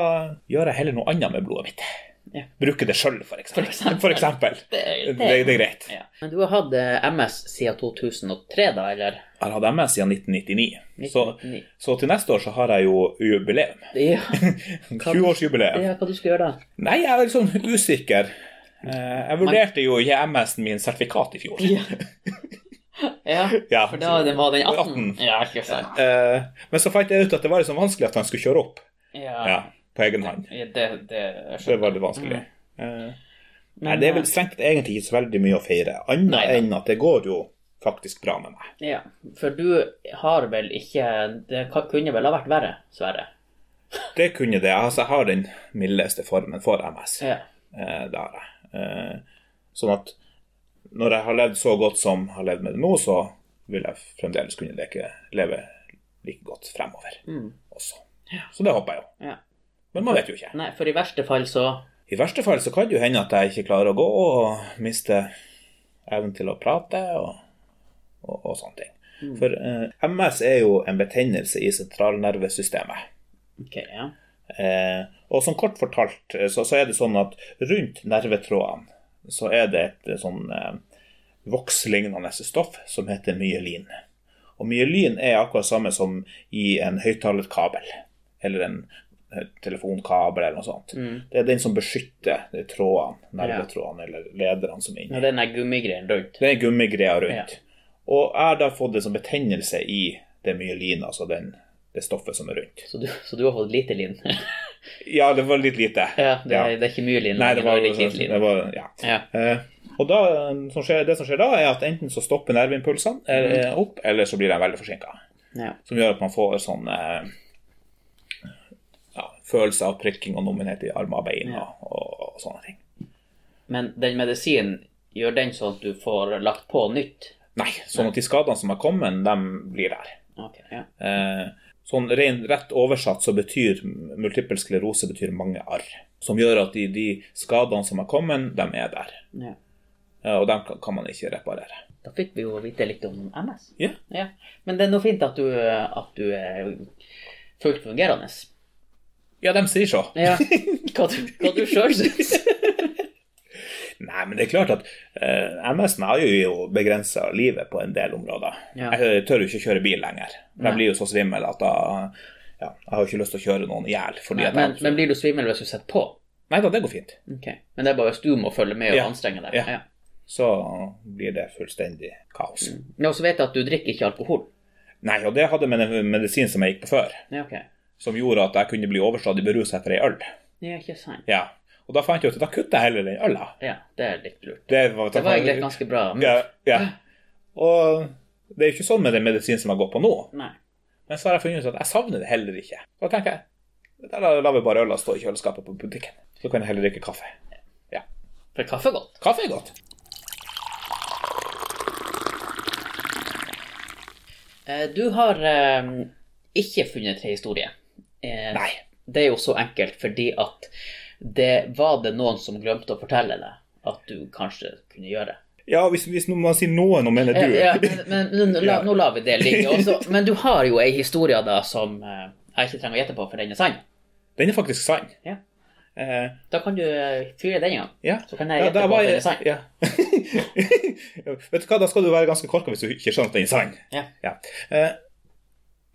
Speaker 2: gjør jeg heller noe annet med blodet mitt.
Speaker 1: Ja.
Speaker 2: Bruker det sjøl, for eksempel.
Speaker 1: For eksempel.
Speaker 2: For eksempel.
Speaker 1: Det er-
Speaker 2: Det,
Speaker 1: det
Speaker 2: det
Speaker 1: er-
Speaker 2: er greit.
Speaker 1: Ja. Men du har hatt eh, MS siden 2003, da, eller?
Speaker 2: Jeg har hatt MS siden 1999. Så,
Speaker 1: 1999.
Speaker 2: så til neste år så har jeg jo jubileum.
Speaker 1: Ja,
Speaker 2: 20-årsjubileum.
Speaker 1: ja hva du skal gjøre da?
Speaker 2: Nei, jeg er litt sånn usikker. Eh, Jeg vurderte jo å gi MS-en min sertifikat i fjor.
Speaker 1: Ja. ja.
Speaker 2: Ja.
Speaker 1: For da det var den 18.
Speaker 2: 18.
Speaker 1: Ja, ikke sant.
Speaker 2: Eh, Men så fant jeg ut at det var liksom vanskelig at han skulle kjøre opp ja,
Speaker 1: Ja.
Speaker 2: på egen hånd.
Speaker 1: Det, det, jeg
Speaker 2: Det
Speaker 1: skjønner.
Speaker 2: var litt vanskelig. Eh, Nei,
Speaker 1: Mm. Men,
Speaker 2: det er vel
Speaker 1: eh,
Speaker 2: strengt tatt egentlig ikke så veldig mye å feire, annet
Speaker 1: Nei, da.
Speaker 2: enn at det går jo faktisk bra med meg.
Speaker 1: Ja, for du har vel ikke Det ka- kunne vel ha vært verre, Sverre?
Speaker 2: Det kunne det. Altså, jeg har den mildeste formen for MS.
Speaker 1: Ja.
Speaker 2: Eh, det har jeg. Eh, sånn at når jeg har levd så godt som jeg har levd med det nå, så vil jeg fremdeles kunne leke, leve like godt fremover
Speaker 1: Mm.
Speaker 2: også. Så det håper jeg jo.
Speaker 1: ja.
Speaker 2: Men man vet jo ikke.
Speaker 1: Nei, for i verste fall så
Speaker 2: I verste fall så kan det jo hende at jeg ikke klarer å gå og mister evnen til å prate og, og, og sånne ting. For eh, MS er jo en betennelse i sentralnervesystemet.
Speaker 1: Ok, ja.
Speaker 2: Eh, og som kort fortalt eh, så, så er det sånn at rundt nervetrådene så er det et eh, sånn eh, vokslignende stoff som heter myelin. Og myelin er akkurat samme som i en høyttalerkabel eller en eh, telefonkabel eller noe sånt.
Speaker 1: Mm.
Speaker 2: Det er den som beskytter de trådene, nervetrådene eller lederne som er
Speaker 1: Når
Speaker 2: inni.
Speaker 1: den der gummigreien rundt.
Speaker 2: Det er gummigreier rundt. Og jeg har da fått det som betennelse i det myelin, altså den, det stoffet som er rundt.
Speaker 1: Så du, så du har fått lite lin?
Speaker 2: Ja, det var litt lite.
Speaker 1: ja, det,
Speaker 2: Ja.
Speaker 1: er- det er ikke mye lin.
Speaker 2: Nei,
Speaker 1: men
Speaker 2: Mm, det var,
Speaker 1: litt lite
Speaker 2: det
Speaker 1: lin.
Speaker 2: var ja.
Speaker 1: Ja.
Speaker 2: Eh, og da, eh, som skjer, det som skjer da, er at enten så stopper nerveimpulsene eh, opp, eller så blir de veldig forsinka.
Speaker 1: Ja.
Speaker 2: Som gjør at man får sånn eh, ja, følelse av prikking og nummenhet i armer og bein og, og, og sånne ting.
Speaker 1: Men den medisinen, gjør den sånn at du får lagt på nytt?
Speaker 2: Nei, sånn at de skadene som har kommet, de blir der.
Speaker 1: Ok, ja.
Speaker 2: Eh, sånn ren, rett oversatt så betyr multiple sklerose betyr mange arr. Som gjør at de, de skadene som har kommet, de er der.
Speaker 1: ja.
Speaker 2: Eh, og dem kan- kan man ikke reparere.
Speaker 1: Da fikk vi jo vite litt om MS.
Speaker 2: Ja.
Speaker 1: Ja. Men det er nå fint at du, at du er fullt fungerende.
Speaker 2: Ja, de sier så.
Speaker 1: Ja. Hva du, hva du sjøl syns.
Speaker 2: Nei, men det er klart at eh, MS-en har jo begrensa livet på en del områder.
Speaker 1: Ja.
Speaker 2: Jeg tør jo ikke kjøre bil lenger. For jeg blir jo så svimmel at da ja, Jeg har jo ikke lyst til å kjøre noen i hjel. fordi at
Speaker 1: Men,
Speaker 2: jeg-
Speaker 1: men blir du svimmel hvis du sitter på?
Speaker 2: Nei da, det går fint.
Speaker 1: Ok. Men det er bare hvis du må følge med og
Speaker 2: Ja.
Speaker 1: anstrenge deg.
Speaker 2: Ja.
Speaker 1: Ja.
Speaker 2: Så blir det fullstendig kaos.
Speaker 1: Ja, og så Mm. vet jeg at du drikker ikke alkohol.
Speaker 2: Nei, og det hadde med en medisin som jeg gikk på før,
Speaker 1: Ja, ok.
Speaker 2: som gjorde at jeg kunne bli overstadig beruset etter ei øl.
Speaker 1: Ja, ikke sant.
Speaker 2: Ja. Og da fant jeg ut at da kutter jeg heller den øla.
Speaker 1: Ja, det er litt lurt.
Speaker 2: Det var,
Speaker 1: Det var egentlig et ganske bra. Men...
Speaker 2: ja, ja. Og det er jo ikke sånn med den medisinen som jeg går på nå.
Speaker 1: Nei.
Speaker 2: Men så har jeg funnet ut at jeg savner det heller ikke. Da tenker jeg da la- lar vi bare øla stå i kjøleskapet på butikken. Så kan jeg heller drikke kaffe.
Speaker 1: For kaffe er godt.
Speaker 2: Kaffe er godt.
Speaker 1: Eh, Du har eh, ikke funnet tre historier. Eh,
Speaker 2: Nei.
Speaker 1: Det er jo så enkelt fordi at det var det noen som glemte å fortelle deg at du kanskje kunne gjøre.
Speaker 2: Ja, hvis, hvis man sier noen, nå mener du.
Speaker 1: Eh, Ja, men, men, nå la,
Speaker 2: Ja.
Speaker 1: nå lar vi det ligge. Også, men du har jo ei historie da som eh, jeg ikke trenger å gjette på, for den er sann.
Speaker 2: Den er faktisk sann.
Speaker 1: Ja.
Speaker 2: Eh,
Speaker 1: Da kan du eh, tvile den gang.
Speaker 2: ja.
Speaker 1: Så kan jeg
Speaker 2: Ja,
Speaker 1: gjette
Speaker 2: da
Speaker 1: på
Speaker 2: var
Speaker 1: at den
Speaker 2: jeg-
Speaker 1: er sann.
Speaker 2: Ja. Vet du hva, da skal du være ganske korka hvis du ikke skjønner at den er sann.
Speaker 1: Ja.
Speaker 2: Eh,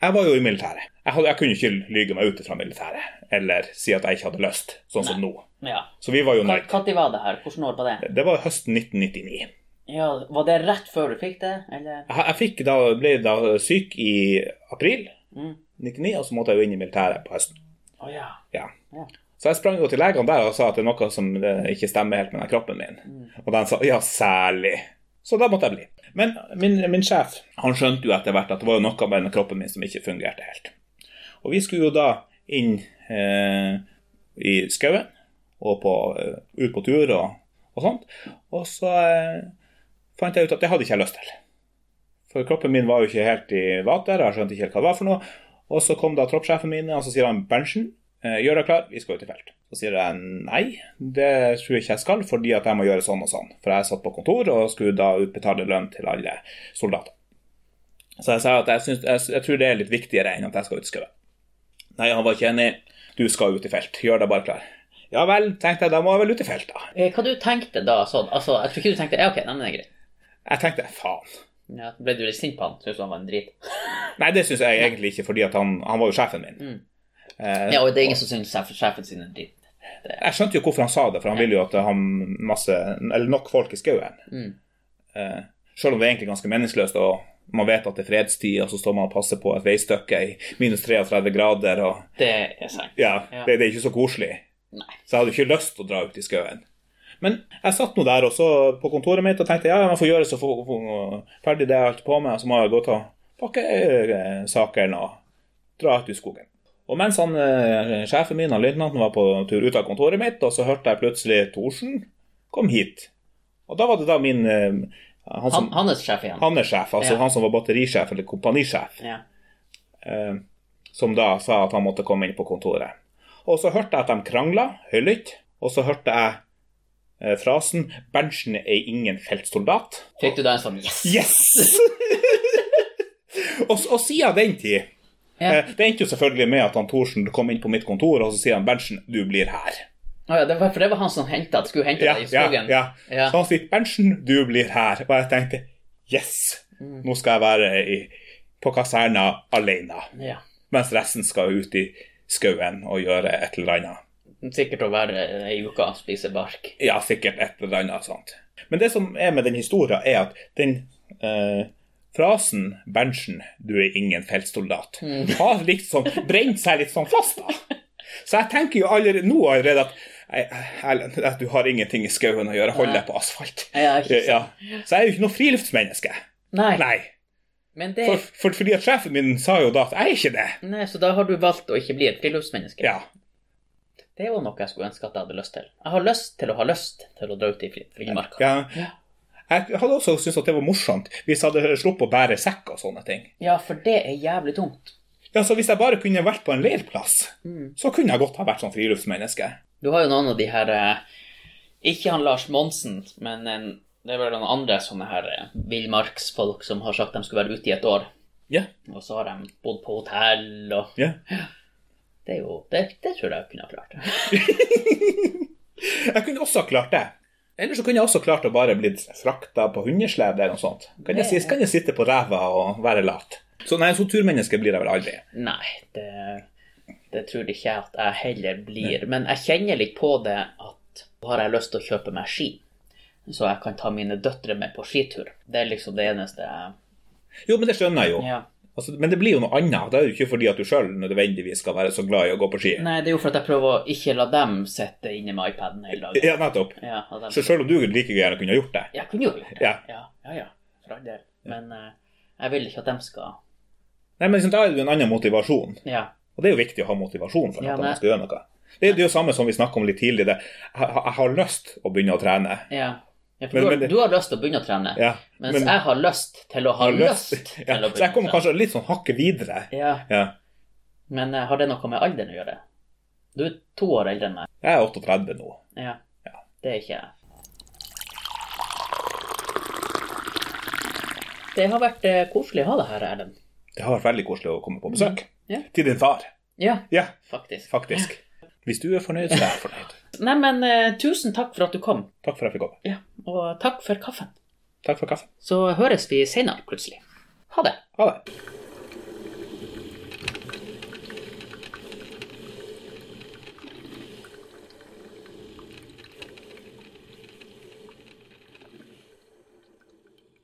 Speaker 2: jeg var jo i militæret. Jeg, hadde, jeg kunne ikke lyge meg ut fra militæret. Eller si at jeg ikke hadde lyst, sånn som nå.
Speaker 1: Ja.
Speaker 2: Så vi var jo nerd.
Speaker 1: Når var det her? Hvilket år var det?
Speaker 2: Det var høsten 1999.
Speaker 1: Ja, Var det rett før du fikk det, eller?
Speaker 2: Jeg, jeg fikk da, ble da syk i april
Speaker 1: Mm.
Speaker 2: 99, og så måtte jeg jo inn i militæret på høsten.
Speaker 1: Å ja.
Speaker 2: Ja.
Speaker 1: Ja.
Speaker 2: Så jeg sprang jo til legene der og sa at det er noe som eh, ikke stemmer helt med den kroppen min. Og de sa ja, særlig. Så da måtte jeg bli. Men min, min sjef han skjønte jo etter hvert at det var jo noe med den kroppen min som ikke fungerte helt. Og vi skulle jo da inn eh, i skauen og på, eh, ut på tur og, og sånt. Og så eh, fant jeg ut at det hadde ikke jeg lyst til. For kroppen min var jo ikke helt i vater, jeg skjønte ikke helt hva det var for noe. Og så kom da troppssjefen min, og så sier han Berntsen, eh, gjør deg klar, vi skal ut i felt. Så sier jeg nei, det tror jeg ikke jeg skal, fordi at jeg må gjøre sånn og sånn. For jeg satt på kontor og skulle da utbetale lønn til alle soldater. Så jeg sa at jeg, syns- jeg, jeg tror det er litt viktigere enn at jeg skal ut i skauen. Nei, han var ikke enig. Du skal ut i felt, gjør deg bare klar. Ja vel, tenkte jeg, da må jeg vel ut i felt, da.
Speaker 1: Eh, Hva du tenkte da sånn? Altså, jeg tror ikke du tenkte ja, ok, nei, men det er greit.
Speaker 2: Jeg tenkte faen.
Speaker 1: Ja, ble du litt sint på han? Syntes du han var en drit?
Speaker 2: Nei, det syns jeg egentlig ikke, fordi at han, han var jo sjefen min.
Speaker 1: Mm.
Speaker 2: Eh,
Speaker 1: Ja, og det er ingen som syns sjef- sjefen sin er en drit.
Speaker 2: Jeg skjønte jo hvorfor han sa det, for han ville jo at det har masse, eller nok folk i skauen.
Speaker 1: Mm.
Speaker 2: Eh, selv om det er egentlig ganske meningsløst, og man vet at det er fredstid, og så står man og passer på et veistykke i minus 33 grader, og
Speaker 1: Det er sant.
Speaker 2: ja,
Speaker 1: Ja.
Speaker 2: Det, det er ikke så koselig.
Speaker 1: Nei.
Speaker 2: Så jeg hadde ikke lyst til å dra ut i skauen. Men jeg satt nå der også på kontoret mitt og tenkte ja, jeg får gjøre så få- få- ferdig det jeg holdt på med, og så må jeg gå og ta pakkesaker og dra ut i skogen. Og mens han, eh, sjefen min, han løytnanten, var på tur ut av kontoret mitt, og så hørte jeg plutselig Thorsen kom hit. Og da var det da min eh, Han
Speaker 1: Han,
Speaker 2: som han,
Speaker 1: hans sjef igjen.
Speaker 2: er sjef, altså
Speaker 1: Ja.
Speaker 2: han som var batterisjef eller kompanisjef
Speaker 1: Ja.
Speaker 2: eh, som da sa at han måtte komme inn på kontoret. Og så hørte jeg at de krangla høylytt, og så hørte jeg eh, frasen 'Berntsen er ingen feltsoldat'.
Speaker 1: Fikk du da en sånn yes?
Speaker 2: Yes! og, s- og siden den tid
Speaker 1: Ja.
Speaker 2: eh, Det endte jo selvfølgelig med at han Thorsen kom inn på mitt kontor, og så sier han 'Berntsen, du blir her'.
Speaker 1: Å ja, det var, for det var han som hentet, skulle hente
Speaker 2: Ja,
Speaker 1: deg i
Speaker 2: ja,
Speaker 1: skogen.
Speaker 2: ja.
Speaker 1: Ja.
Speaker 2: Så han sier 'Berntsen, du blir her'. Og jeg tenkte 'yes',
Speaker 1: Mm.
Speaker 2: nå skal jeg være i, på kaserna alene
Speaker 1: Ja.
Speaker 2: mens resten skal ut i skauen og gjøre et eller annet.
Speaker 1: Sikkert å være ei uke og spise bark.
Speaker 2: Ja, sikkert et eller annet sånt. Men det som er med den historien, er at den eh, frasen 'Berntsen, du er ingen feltsoldat' har liksom brent seg litt sånn fast. da. Så jeg tenker jo allerede nå allerede at «Nei, Erlend, at du har ingenting i skauen å gjøre, hold deg på asfalt.
Speaker 1: Ja, ikke sant.
Speaker 2: Ja. Så jeg er jo ikke noe friluftsmenneske.
Speaker 1: Nei,
Speaker 2: Nei.
Speaker 1: men det
Speaker 2: For, for, fordi at sjefen min sa jo da at jeg er ikke det.
Speaker 1: Nei, Så da har du valgt å ikke bli et friluftsmenneske.
Speaker 2: Ja.
Speaker 1: Det er jo noe jeg skulle ønske at jeg hadde lyst til. Jeg har lyst til å ha lyst til å dra ut i fri- frimarka.
Speaker 2: Ja. Jeg hadde også syntes at det var morsomt hvis jeg hadde sluppet å bære sekk og sånne ting.
Speaker 1: Ja, for det er jævlig tungt.
Speaker 2: Ja, så Hvis jeg bare kunne vært på en leirplass, så kunne jeg godt ha vært sånn friluftsmenneske.
Speaker 1: Du har jo noen av de her eh, Ikke han Lars Monsen, men en, det er vel noen andre sånne her eh, villmarksfolk som har sagt de skulle være ute i et år.
Speaker 2: Ja.
Speaker 1: Og så har de bodd på hotell og
Speaker 2: ja.
Speaker 1: Det er jo Det, det tror jeg jeg kunne ha klart.
Speaker 2: Jeg kunne også ha klart det. Eller så kunne jeg også klart å bare blitt frakta på hundeslede eller noe sånt. Kan jeg, si- kan jeg sitte på ræva og være lat. Så nei, sånn turmenneske blir jeg vel aldri.
Speaker 1: Nei, det, det tror ikke jeg at jeg heller blir. Men jeg kjenner litt på det at nå har jeg lyst til å kjøpe meg ski, så jeg kan ta mine døtre med på skitur. Det er liksom det eneste jeg
Speaker 2: Jo, men det skjønner jeg jo.
Speaker 1: ja.
Speaker 2: Altså, men det blir jo noe annet. Det er jo ikke fordi at du sjøl nødvendigvis skal være så glad i å gå på ski.
Speaker 1: Nei, det er jo for at jeg prøver å ikke la dem sitte inne med iPaden hele dagen.
Speaker 2: Ja, nettopp.
Speaker 1: Ja, at de,
Speaker 2: Så sjøl om du like gjerne kunne ha gjort det.
Speaker 1: jeg kunne jo gjort det.
Speaker 2: Ja.
Speaker 1: Ja, ja, ja for all del. Men eh, jeg vil ikke at de skal
Speaker 2: Nei, men liksom, Da er det jo en annen motivasjon.
Speaker 1: Ja.
Speaker 2: Og det er jo viktig å ha motivasjon for
Speaker 1: Ja,
Speaker 2: at
Speaker 1: men-
Speaker 2: man skal gjøre noe. Det er jo det samme som vi snakka om litt tidligere. Jeg, jeg har lyst å begynne å trene.
Speaker 1: ja. ja for
Speaker 2: Men-
Speaker 1: du, har,
Speaker 2: men det-
Speaker 1: du har lyst til å begynne å trene,
Speaker 2: Ja,
Speaker 1: mens jeg har lyst til å ha
Speaker 2: har
Speaker 1: lyst, til
Speaker 2: ja,
Speaker 1: å begynne
Speaker 2: Så jeg
Speaker 1: å
Speaker 2: kommer
Speaker 1: trene.
Speaker 2: kanskje litt sånn hakket videre.
Speaker 1: Ja.
Speaker 2: Ja.
Speaker 1: Men eh, har det noe med alderen å gjøre? Du er to år eldre enn meg.
Speaker 2: Jeg er 38 nå.
Speaker 1: Ja. Det er ikke jeg. Det har vært eh, koselig å ha deg her, Erlend.
Speaker 2: Det har vært veldig koselig å komme på besøk.
Speaker 1: Mm. Ja.
Speaker 2: Til din far.
Speaker 1: Ja,
Speaker 2: Ja,
Speaker 1: faktisk.
Speaker 2: faktisk. Hvis du er fornøyd, så er jeg fornøyd.
Speaker 1: Neimen, eh, tusen takk for at du kom.
Speaker 2: Takk for at jeg fikk komme.
Speaker 1: Ja, og takk for kaffen.
Speaker 2: Takk for kaffen.
Speaker 1: Så høres vi senere, plutselig. Ha det.
Speaker 2: Ha det.